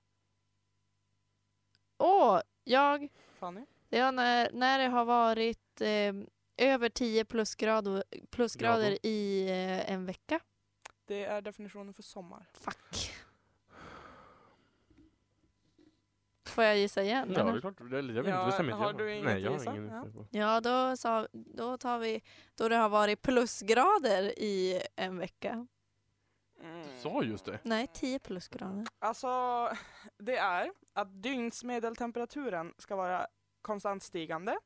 Speaker 3: Åh, jag...
Speaker 2: Fanny?
Speaker 3: Det var när, när det har varit eh, över 10 plusgrader, plusgrader
Speaker 4: Grader.
Speaker 3: i eh, en vecka.
Speaker 2: Det är definitionen för sommar.
Speaker 3: Fuck. Får jag gissa igen?
Speaker 4: Ja,
Speaker 3: eller?
Speaker 4: det är klart. Det- Jag vill
Speaker 2: Ja,
Speaker 4: inte bestämma.
Speaker 2: har
Speaker 4: jag.
Speaker 2: du inget
Speaker 4: Nej, jag
Speaker 2: att
Speaker 4: har
Speaker 2: gissa?
Speaker 4: ingen
Speaker 2: Ja.
Speaker 4: gissning på.
Speaker 3: Ja, då, sa, då tar vi då det har varit plusgrader i en vecka.
Speaker 4: Du sa just det.
Speaker 3: Nej, 10 plusgrader.
Speaker 2: Alltså, det är att dygnsmedeltemperaturen ska vara konstant stigande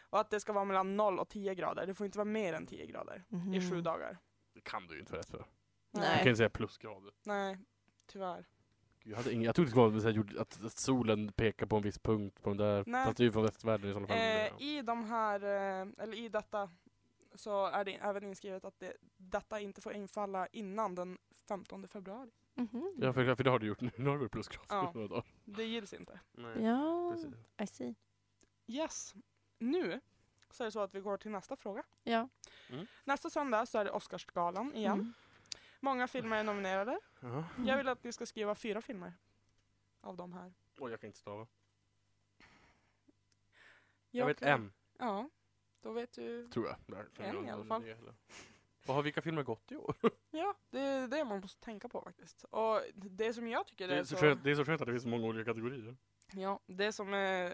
Speaker 2: och att det ska vara mellan 0 och 10 grader. Det får inte vara mer än 10 grader i
Speaker 4: Mm.
Speaker 2: sju
Speaker 3: Mhm.
Speaker 2: dagar.
Speaker 4: Det kan du ju inte för rätt för. Du
Speaker 3: Nej.
Speaker 4: kan ju inte säga plusgrader.
Speaker 2: Nej, tyvärr.
Speaker 4: Gud, Jag, hade ingen, jag trodde det skulle vara så här jord- att, att solen pekar på en viss punkt på den där.
Speaker 2: Nej.
Speaker 4: Fast det är ju från västvärlden i sådana fall.
Speaker 2: Eh,
Speaker 4: Ja.
Speaker 2: I de här, eh, eller i detta, så är det även inskrivet att det, detta inte får infalla innan den 15 februari.
Speaker 3: Mhm.
Speaker 4: Ja, för, för det har du gjort nu. Nu har det varit plusgrader
Speaker 2: Ja.
Speaker 4: några dagar.
Speaker 2: Det gills inte.
Speaker 3: Ja,
Speaker 4: precis.
Speaker 3: I see.
Speaker 2: Yes. Nu så är det så att vi går till nästa fråga.
Speaker 3: Ja.
Speaker 4: Mm.
Speaker 2: Nästa söndag så är det Oscarsgalan igen.
Speaker 3: Mm.
Speaker 2: Många filmer är nominerade.
Speaker 4: Ja.
Speaker 2: Jag vill att ni ska skriva fyra filmer av de här.
Speaker 4: Oj, jag kan inte stava. Jag,
Speaker 2: Jag
Speaker 4: vet
Speaker 2: kan-
Speaker 4: en,
Speaker 2: Ja, då vet du.
Speaker 4: tror jag. Där.
Speaker 2: En i alla fall.
Speaker 4: Vad har vilka filmer gått i år?
Speaker 2: Ja, det är det man måste tänka på faktiskt. Och det som jag tycker
Speaker 4: Det är,
Speaker 2: är
Speaker 4: så
Speaker 2: så...
Speaker 4: skönt, det är så skönt att det finns så många olika kategorier.
Speaker 2: Ja, det som eh,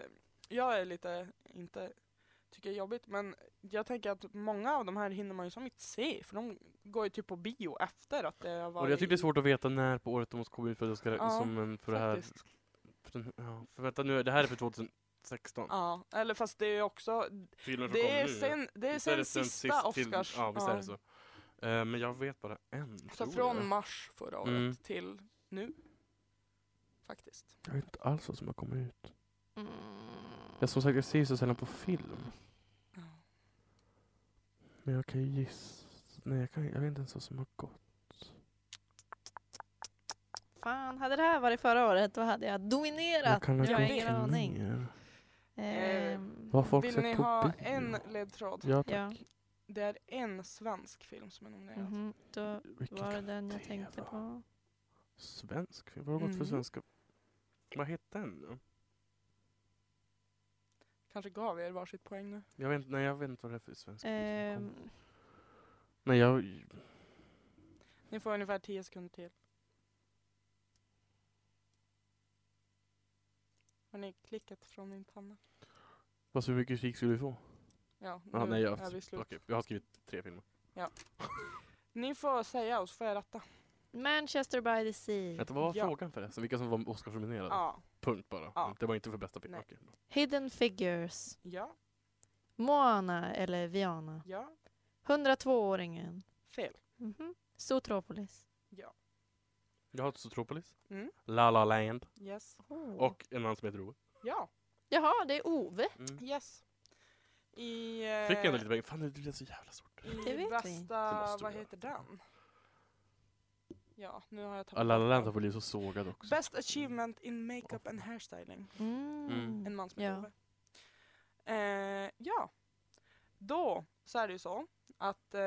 Speaker 2: jag är lite, inte tycker är jobbigt, men jag tänker att många av de här hinner man ju som inte se, för de går ju typ på bio efter att det har varit
Speaker 4: Och jag tycker det
Speaker 2: i-
Speaker 4: är svårt att veta när på året de måste komma ut för att jag ska
Speaker 2: Ja,
Speaker 4: som en för det här.
Speaker 2: faktiskt.
Speaker 4: För, den, ja, för vänta nu, det här är för 2016.
Speaker 2: Ja, eller fast det är ju också,
Speaker 4: Filmen som
Speaker 2: det
Speaker 4: kom
Speaker 2: är
Speaker 4: nu.
Speaker 2: sen, det är
Speaker 4: Visst är
Speaker 2: sen
Speaker 4: det
Speaker 2: sista
Speaker 4: till-
Speaker 2: Oscars.
Speaker 4: Ja, visst är
Speaker 2: Ja.
Speaker 4: det så. Eh, men jag vet bara en.
Speaker 2: Så
Speaker 4: tror
Speaker 2: från
Speaker 4: jag.
Speaker 2: mars förra året
Speaker 4: Mm.
Speaker 2: till nu. Faktiskt.
Speaker 4: Jag vet inte alls vad som har kommit ut.
Speaker 3: Mm.
Speaker 4: Jag som sagt, jag ser ju så sällan på film.
Speaker 2: Ja.
Speaker 4: Men jag kan ju gissa. Nej, jag, kan, jag vet inte ens vad som har gått.
Speaker 3: Fan, hade det här varit förra året då hade jag dominerat.
Speaker 4: Jag kan ha
Speaker 3: jag har
Speaker 4: gått
Speaker 3: ingen
Speaker 4: till
Speaker 3: aning.
Speaker 4: mer.
Speaker 3: Ehm,
Speaker 4: Vad har folk
Speaker 2: Vill
Speaker 4: sett
Speaker 2: ni
Speaker 4: på
Speaker 2: ha
Speaker 4: bio?
Speaker 2: en ledtråd?
Speaker 4: Ja, tack.
Speaker 3: ja,
Speaker 2: Det är en svensk film som är nominerad.
Speaker 3: mhm. då
Speaker 4: Vilken
Speaker 3: var det
Speaker 4: kan
Speaker 3: den jag
Speaker 4: det
Speaker 3: tänkte
Speaker 4: vara?
Speaker 3: på.
Speaker 4: Svensk film? Vad har det gått för
Speaker 2: Mm.
Speaker 4: svenska? Vad heter den då?
Speaker 2: Kanske gav er varsitt poäng nu.
Speaker 4: Jag vet, inte- nej, jag vet inte vad det är för svensk film som kom.
Speaker 3: Ehm,
Speaker 4: Nej, jag...
Speaker 2: Ni får ungefär 10 sekunder till. Har ni klickat från min panna?
Speaker 4: Fast hur mycket kik skulle vi få?
Speaker 2: Ja, nu
Speaker 4: Ah, nej, jag,
Speaker 2: är vi slut.
Speaker 4: okej, jag har skrivit tre filmer.
Speaker 2: Ni får säga och så får jag ratta.
Speaker 3: Manchester by the Sea.
Speaker 4: Vänta, vad var
Speaker 2: Mm. Ja.
Speaker 4: frågan förresten? Vilka som var Oscarsnominerade?
Speaker 2: Ja.
Speaker 4: Punkt bara.
Speaker 2: Ja.
Speaker 4: Det var inte för bästa film.
Speaker 2: Nej.
Speaker 4: Okej, bra.
Speaker 3: Hidden Figures.
Speaker 2: Ja.
Speaker 3: Moana eller Viana.
Speaker 2: Ja.
Speaker 3: 102-åringen.
Speaker 2: Fel.
Speaker 3: Mhm. Zootropolis.
Speaker 2: Ja.
Speaker 4: Jag har Zootropolis,
Speaker 2: Mm.
Speaker 4: La La Land
Speaker 2: Yes.
Speaker 4: och en annan som heter Ove.
Speaker 2: Ja.
Speaker 3: Jaha, det är Ove.
Speaker 4: Mm.
Speaker 2: Yes. I... Eh, Mm.
Speaker 4: Fick jag ändå lite pengar. Fan, det blev så jävla svårt.
Speaker 3: Det
Speaker 2: I
Speaker 3: vet vi.
Speaker 4: Det
Speaker 2: bästa...
Speaker 4: måste
Speaker 2: Vad
Speaker 4: vi göra.
Speaker 2: heter den? Ja, nu har jag
Speaker 4: Ja,
Speaker 2: tappat
Speaker 4: La La Land
Speaker 2: bort
Speaker 4: har blivit så sågad också.
Speaker 2: Best achievement in makeup and hairstyling.
Speaker 3: Mm.
Speaker 4: Mm.
Speaker 2: En man som
Speaker 3: Ja.
Speaker 2: heter Ove. Eh, ja. Då så är det ju så att eh,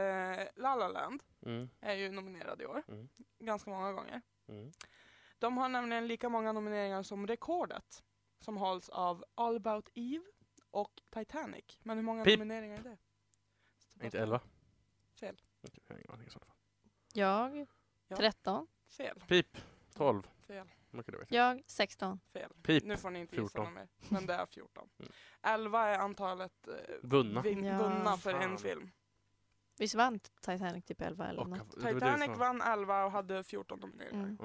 Speaker 2: La La Land
Speaker 4: Mm.
Speaker 2: är ju nominerad i år.
Speaker 4: Mm.
Speaker 2: Ganska många gånger.
Speaker 4: Mm.
Speaker 2: De har nämligen lika många nomineringar som rekordet som hålls av All about Eve och Titanic. Men hur många
Speaker 4: Pip.
Speaker 2: nomineringar är det?
Speaker 4: Inte elva?
Speaker 2: Fel.
Speaker 4: Okej, jag har ingen aning i så fall.
Speaker 3: Jag
Speaker 2: Ja.
Speaker 3: 13.
Speaker 2: Fel,
Speaker 4: Pip, 12.
Speaker 2: fel,
Speaker 4: Okej, det vet jag.
Speaker 3: Jag 16.
Speaker 2: fel.
Speaker 4: Pip,
Speaker 2: Nu får ni inte gissa
Speaker 4: 14.
Speaker 2: något mer. Men det är 14.
Speaker 4: Mm.
Speaker 2: 11 är antalet eh,
Speaker 4: Vunna.
Speaker 2: vin-
Speaker 3: Ja.
Speaker 2: vunna för en
Speaker 4: Fan.
Speaker 2: film.
Speaker 3: Visst vann Titanic typ 11 eller
Speaker 4: Och-
Speaker 3: något?
Speaker 4: det var det
Speaker 2: Titanic
Speaker 4: som-
Speaker 2: vann 11 och hade 14 nomineringar.
Speaker 3: Mm.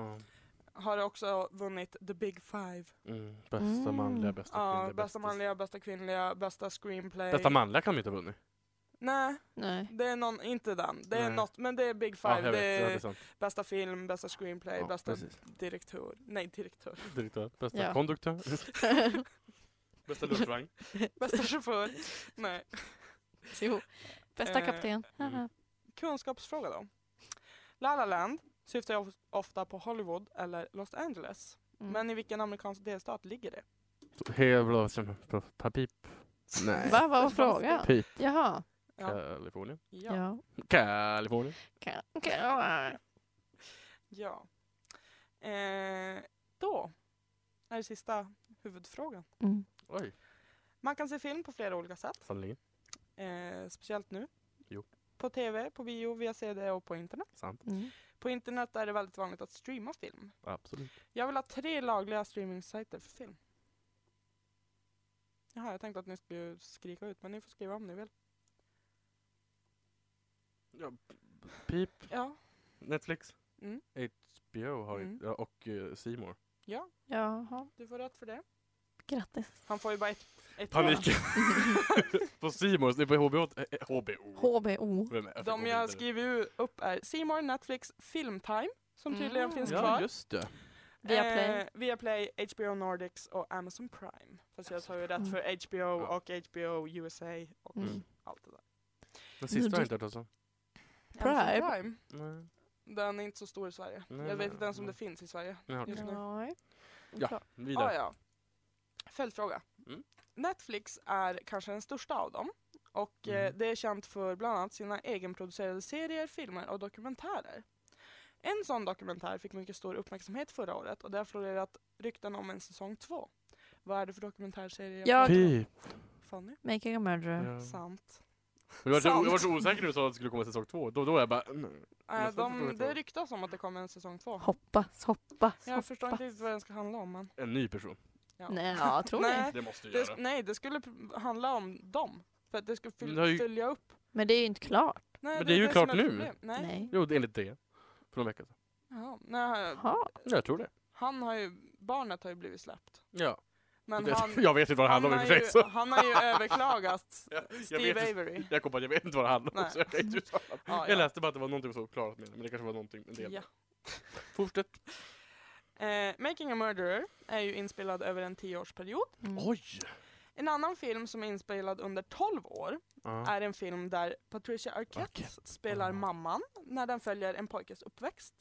Speaker 4: Ja.
Speaker 2: Har också vunnit The Big Five.
Speaker 4: Mm. Bästa
Speaker 3: Mm.
Speaker 4: manliga, bästa
Speaker 2: Ja,
Speaker 4: kvinnliga,
Speaker 2: bästa, manliga, bästa kvinnliga, bästa screenplay.
Speaker 4: Bästa manliga kan de inte ha vunnit.
Speaker 2: Nej,
Speaker 3: Nej.
Speaker 2: det är någon, inte den. Det är
Speaker 4: Nej.
Speaker 2: något, men det är Big
Speaker 4: Ja,
Speaker 2: Five.
Speaker 4: jag
Speaker 2: det
Speaker 4: vet. Ja,
Speaker 2: är
Speaker 4: det är sant.
Speaker 2: bästa film, bästa screenplay,
Speaker 4: Ja,
Speaker 2: bästa
Speaker 4: precis.
Speaker 2: direktör. Nej, direktör.
Speaker 4: Direktör. Bästa
Speaker 3: Ja.
Speaker 4: konduktör. Bästa luftvagn.
Speaker 2: Bästa chaufför. Nej.
Speaker 3: jo. Bästa
Speaker 2: Eh,
Speaker 3: kapten.
Speaker 4: mm.
Speaker 2: Kunskapsfråga då. La La Land syftar ju of- ofta på Hollywood eller Los Angeles.
Speaker 3: Mm.
Speaker 2: Men i vilken amerikansk delstat ligger det?
Speaker 4: Hela Papip. Nej.
Speaker 3: Va, vad var frågan?
Speaker 4: Pip.
Speaker 3: Jaha.
Speaker 2: Ja.
Speaker 4: Kalifornien.
Speaker 2: Ja.
Speaker 3: Ja.
Speaker 2: Ja.
Speaker 3: ja.
Speaker 4: Kalifornien.
Speaker 3: Ka- ka-
Speaker 2: Eh, då är det sista huvudfrågan.
Speaker 3: Mm.
Speaker 4: Oj,
Speaker 2: Man kan se film på flera olika sätt.
Speaker 4: sannerligen.
Speaker 2: Eh, speciellt nu.
Speaker 4: Jo.
Speaker 2: På tv, på bio, via CD och på internet.
Speaker 4: Sant.
Speaker 3: Mm.
Speaker 2: På internet är det väldigt vanligt att streama film.
Speaker 4: Absolut.
Speaker 2: Jag vill ha tre lagliga streamingsajter för film. Jaha, jag tänkte att ni skulle skrika ut, men ni får skriva om ni vill.
Speaker 4: Ja, pip,
Speaker 2: Ja,
Speaker 4: Netflix,
Speaker 2: Mm.
Speaker 4: HBO har ju-
Speaker 2: Mm.
Speaker 4: ja, och uh, C More.
Speaker 2: ja,
Speaker 3: Jaha,
Speaker 2: du får rätt för det.
Speaker 3: grattis.
Speaker 2: Han får ju bara ett, ett
Speaker 4: Panik! på C More, det är på HBO. eh, HBO.
Speaker 3: HBO.
Speaker 4: Vem är-
Speaker 2: De jag skriver ju upp är C More, Netflix, Filmtime, som tydligen
Speaker 3: Mm.
Speaker 2: finns
Speaker 4: Ja,
Speaker 2: kvar.
Speaker 4: just det.
Speaker 3: Viaplay.
Speaker 2: Eh, Viaplay, HBO Nordics och Amazon Prime. Fast jag tar ju rätt
Speaker 3: Mm.
Speaker 2: för HBO
Speaker 4: Ja.
Speaker 2: och HBO USA och
Speaker 3: Mm.
Speaker 2: allt det där.
Speaker 4: Den sista har
Speaker 3: du-
Speaker 4: jag inte hört talas om.
Speaker 3: Prime?
Speaker 2: Amazon Prime,
Speaker 4: Nej,
Speaker 2: den är inte så stor i Sverige.
Speaker 4: Nej,
Speaker 2: jag
Speaker 4: nej,
Speaker 2: vet inte ens om
Speaker 4: nej.
Speaker 2: det finns i Sverige.
Speaker 4: jag har hört
Speaker 2: Just
Speaker 4: det.
Speaker 2: nu.
Speaker 3: Nej.
Speaker 4: Ja, vidare.
Speaker 2: Ah, ja. Följdfråga.
Speaker 4: Mm.
Speaker 2: Netflix är kanske den största av dem. Och eh,
Speaker 4: Mm.
Speaker 2: det är känt för bland annat sina egenproducerade serier, filmer och dokumentärer. En sån dokumentär fick mycket stor uppmärksamhet förra året och det har florerat rykten om en säsong två. Vad är det för dokumentärserie?
Speaker 3: Jag-
Speaker 2: pratar om?
Speaker 4: Pip!
Speaker 2: Fanny?
Speaker 3: Making a murderer.
Speaker 4: Ja.
Speaker 2: Sant.
Speaker 4: Jag var, så, jag
Speaker 2: Sant.
Speaker 4: var så osäker när du sa att det skulle komma säsong två. Då, då är jag bara... mm.
Speaker 2: Eh,
Speaker 4: Jag förstår
Speaker 2: de,
Speaker 4: inte.
Speaker 2: det ryktas om att det kommer en säsong två.
Speaker 3: Hoppas, hoppas,
Speaker 2: Jag förstår
Speaker 3: hoppas.
Speaker 2: inte riktigt vad den ska handla om. Men,
Speaker 4: En ny person.
Speaker 2: ja.
Speaker 3: Nej, ja, tror ni?
Speaker 2: Nej,
Speaker 4: Det måste du
Speaker 2: Äh, det, sk-
Speaker 4: göra.
Speaker 2: nej, det skulle pr- handla om dem. För att det skulle
Speaker 4: Men det har
Speaker 2: fyl-
Speaker 4: ju-
Speaker 2: följa upp
Speaker 3: Men det är ju inte klart.
Speaker 2: Nej,
Speaker 4: Men det är ju
Speaker 2: som
Speaker 4: klart
Speaker 2: ett
Speaker 4: nu.
Speaker 2: problem. Nej.
Speaker 3: Nej.
Speaker 4: Jo, det är enligt det. För någon vecka sedan.
Speaker 2: Jaha. Nej,
Speaker 3: Jaha.
Speaker 4: Ja, jag tror det.
Speaker 2: han har ju, barnet har ju blivit släppt.
Speaker 4: Ja.
Speaker 2: Men
Speaker 4: det
Speaker 2: han,
Speaker 4: jag vet inte vad det
Speaker 2: han,
Speaker 4: handlar om i och
Speaker 2: har
Speaker 4: för sig.
Speaker 2: ju,
Speaker 4: så-
Speaker 2: han har ju överklagat
Speaker 4: Jag, jag,
Speaker 2: Steve
Speaker 4: vet,
Speaker 2: Avery.
Speaker 4: jag kom på att jag vet inte vad det handlar om.
Speaker 2: Nej.
Speaker 4: Så jag, kan inte uttala mig.
Speaker 2: Ja, ja.
Speaker 4: jag läste bara att det var någonting som var klarat med det, men det kanske var någonting. En del.
Speaker 2: Ja.
Speaker 4: Fortsätt.
Speaker 2: Eh, Making a Murderer är ju inspelad över en tioårsperiod.
Speaker 3: Mm.
Speaker 4: Oj!
Speaker 2: En annan film som är inspelad under 12 år är en film där Patricia Arquette
Speaker 4: Arquette.
Speaker 2: spelar
Speaker 4: Ah.
Speaker 2: mamman när den följer en pojkes uppväxt.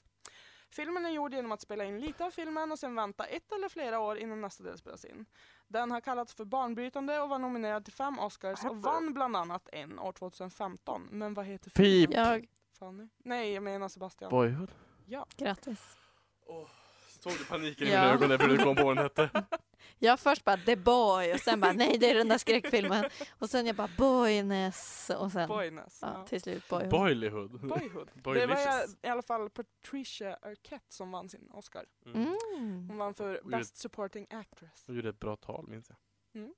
Speaker 2: Filmen är gjord genom att spela in lite av filmen och sen vänta ett eller flera år innan nästa del spelas in. Den har kallats för barnbrytande och var nominerad till fem Oscars och vann bland annat en år 2015. Men vad heter filmen?
Speaker 3: Jag,
Speaker 2: Fanny? Nej, jag menar Sebastian.
Speaker 4: Boyhood.
Speaker 3: grattis.
Speaker 4: Såg du paniken i
Speaker 3: Ja.
Speaker 4: mina ögon när du kom på vad den hette?
Speaker 3: Jag först bara the boy och sen bara nej det är den där skräckfilmen. Och sen jag bara boyness och sen
Speaker 2: Boyness.
Speaker 3: ja, typ.
Speaker 2: Ja.
Speaker 3: till slut boy.
Speaker 4: Boylyhood.
Speaker 2: Boyhood. Det var
Speaker 4: Boylicious.
Speaker 2: i alla fall Patricia Arquette som vann sin Oscar.
Speaker 4: Mm.
Speaker 3: Mm.
Speaker 2: Hon vann för
Speaker 4: Hon gjorde-
Speaker 2: Best Supporting Actress.
Speaker 4: Du gjorde ett bra tal, minns jag.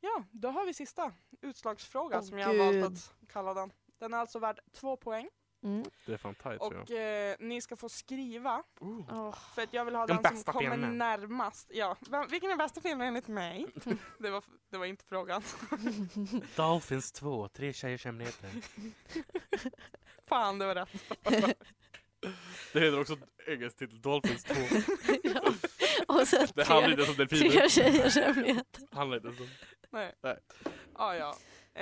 Speaker 2: Ja, då har vi sista utslagsfråga
Speaker 3: Åh,
Speaker 2: som jag har
Speaker 3: gud.
Speaker 2: valt att kalla den. Den är alltså värd två poäng
Speaker 3: Mm.
Speaker 4: Det är fan tajt, tror jag.
Speaker 2: och eh, ni ska få skriva
Speaker 4: Oh.
Speaker 3: Åh,
Speaker 2: för att jag vill ha
Speaker 4: Den
Speaker 2: den, som
Speaker 4: bästa
Speaker 2: kommer
Speaker 4: filmen.
Speaker 2: närmast. Ja, vem, vilken är bästa filmen enligt mig? det, var, det var inte frågan.
Speaker 4: Dolphins 2, Tre tjejers hemligheter.
Speaker 2: Fan, det var rätt.
Speaker 4: Det heter också engelsk titel, Dolphins 2.
Speaker 3: ja. Och sen
Speaker 4: Det handlar
Speaker 3: tre,
Speaker 4: inte ens om delfiner.
Speaker 3: tre tjejers hemligheter.
Speaker 4: Handlar inte ens om...
Speaker 2: Nej.
Speaker 4: Nej.
Speaker 2: Ah, ja.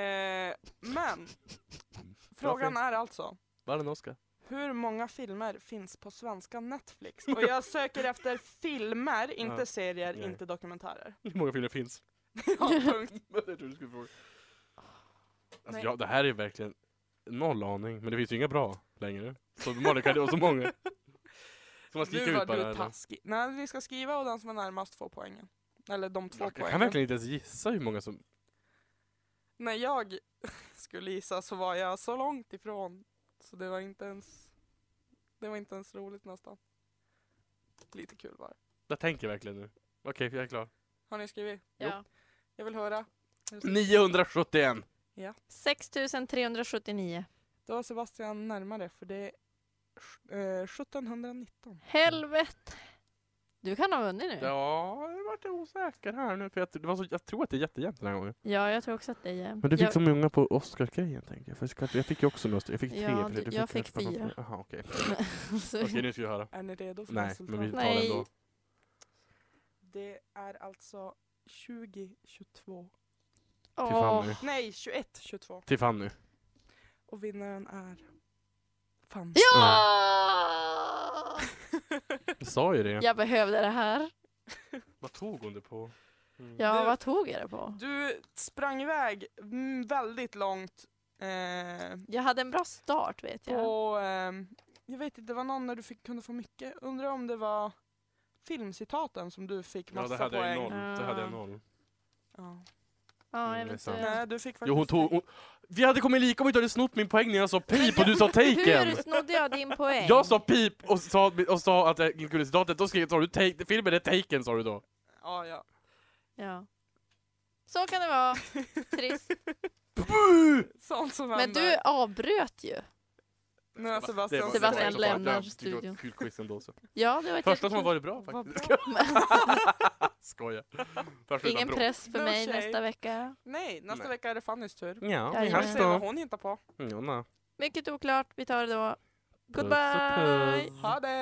Speaker 2: eh, men frågan är
Speaker 4: Varför?
Speaker 2: alltså
Speaker 4: Vann en Oscar.
Speaker 2: hur många filmer finns på svenska Netflix? Och jag söker efter filmer, inte
Speaker 4: Ja.
Speaker 2: serier,
Speaker 4: Nej.
Speaker 2: inte dokumentärer.
Speaker 4: Hur många filmer finns?
Speaker 2: ja, punkt.
Speaker 4: jag trodde du skulle fråga. Alltså,
Speaker 2: Nej.
Speaker 4: ja, det här är verkligen noll aning, men det finns ju inga bra längre. Så Malin kan det vara så många. Så
Speaker 2: Nu
Speaker 4: man skriker
Speaker 2: var
Speaker 4: ut bara.
Speaker 2: du
Speaker 4: eller?
Speaker 2: taskig. Nej, vi ska skriva och den som är närmast får poängen. Eller de två
Speaker 4: Jag kan
Speaker 2: poängen.
Speaker 4: verkligen inte ens gissa hur många som...
Speaker 2: När jag skulle gissa så var jag så långt ifrån. Så det var inte ens, det var inte ens roligt nästan. Lite kul var det.
Speaker 4: Jag tänker verkligen nu. Okej, jag är klar.
Speaker 2: Har ni skrivit?
Speaker 3: Ja.
Speaker 2: Jag vill höra.
Speaker 4: 971!
Speaker 3: 6379.
Speaker 2: Då var Sebastian närmare för det är eh, 1719.
Speaker 3: Helvete. Du kan ha vunnit nu.
Speaker 4: Ja, jag vart osäker här nu, för jag, det var så, jag tror att det är jättejämnt den här gången.
Speaker 3: Ja, jag tror också att det är jämnt.
Speaker 4: Men du fick
Speaker 3: jag,
Speaker 4: så många på Oscarsgrejen tänkte jag. För jag ska- jag fick ju också några stycken. Jag
Speaker 3: Ja,
Speaker 4: fick tre. för sig.
Speaker 3: du-
Speaker 4: Du
Speaker 3: jag fick
Speaker 4: nästan
Speaker 3: fyra.
Speaker 4: några- Jaha, okej.
Speaker 3: så-
Speaker 4: Okej, nu ska vi höra.
Speaker 2: Är ni redo för
Speaker 4: Nej,
Speaker 2: resultat?
Speaker 4: men vi tar
Speaker 3: Nej.
Speaker 4: den då.
Speaker 2: Det är alltså 2022.
Speaker 4: Till
Speaker 3: Åh,
Speaker 4: Fanny.
Speaker 2: Nej, 2122.
Speaker 4: Till Fanny.
Speaker 2: Och vinnaren är Fanny.
Speaker 3: Ja!
Speaker 4: Jag sa ju det.
Speaker 3: Jag behövde det här.
Speaker 4: Vad tog hon det på? Mm.
Speaker 3: Ja,
Speaker 2: Du-
Speaker 3: vad tog jag det på?
Speaker 2: Du sprang iväg mm, väldigt långt eh,
Speaker 3: Jag hade en bra start vet jag.
Speaker 2: på, ehm, jag vet inte, det var någon när du fick, kunde få mycket. Undrar om det var filmcitaten som du fick
Speaker 4: Ja,
Speaker 2: massa
Speaker 4: det hade jag ju
Speaker 2: poäng.
Speaker 4: noll. Det hade jag noll.
Speaker 2: Ja.
Speaker 3: Ja,
Speaker 4: Mm, det är sant.
Speaker 3: eventuellt.
Speaker 2: Nej, du fick faktiskt
Speaker 4: Jo, hon tog... Hon... Vi hade kommit lika om vi inte hade snott min poäng när jag sa pip och du sa
Speaker 3: Hur
Speaker 4: taken!
Speaker 3: snodde jag din poäng?
Speaker 4: Jag sa pip och sa, och sa att jag inte kunde citatet, då skrev sa du take, filmen är taken sa du då.
Speaker 2: Ja, ja.
Speaker 3: Ja.
Speaker 11: Så kan det vara. Trist.
Speaker 2: Sånt som
Speaker 11: Men
Speaker 2: händer.
Speaker 11: du avbröt ju.
Speaker 2: Men alltså, Sebastian,
Speaker 11: var- Sebastian
Speaker 4: som fan,
Speaker 11: lämnar
Speaker 4: jag tycker Det var
Speaker 11: studion.
Speaker 4: ett kul quiz ändå. Så.
Speaker 11: Ja, det var ett
Speaker 4: Första som har
Speaker 11: jättekul-
Speaker 4: varit bra
Speaker 2: Vad
Speaker 4: faktiskt.
Speaker 2: bra.
Speaker 4: Skoja. Första utan
Speaker 11: Ingen
Speaker 4: bråk.
Speaker 11: press för
Speaker 2: No
Speaker 11: mig
Speaker 2: shade.
Speaker 11: nästa vecka.
Speaker 2: Nej, nästa
Speaker 4: Nej.
Speaker 2: vecka är det Fannys tur.
Speaker 4: Ja,
Speaker 11: Ja,
Speaker 4: vi
Speaker 11: ja.
Speaker 2: Vi
Speaker 4: hörs
Speaker 2: ser vad
Speaker 4: då.
Speaker 2: hon hittar på.
Speaker 4: Jonna.
Speaker 11: Mycket oklart. Vi tar det då.
Speaker 4: Puss och
Speaker 11: Goodbye!
Speaker 4: puss.
Speaker 2: Ha det!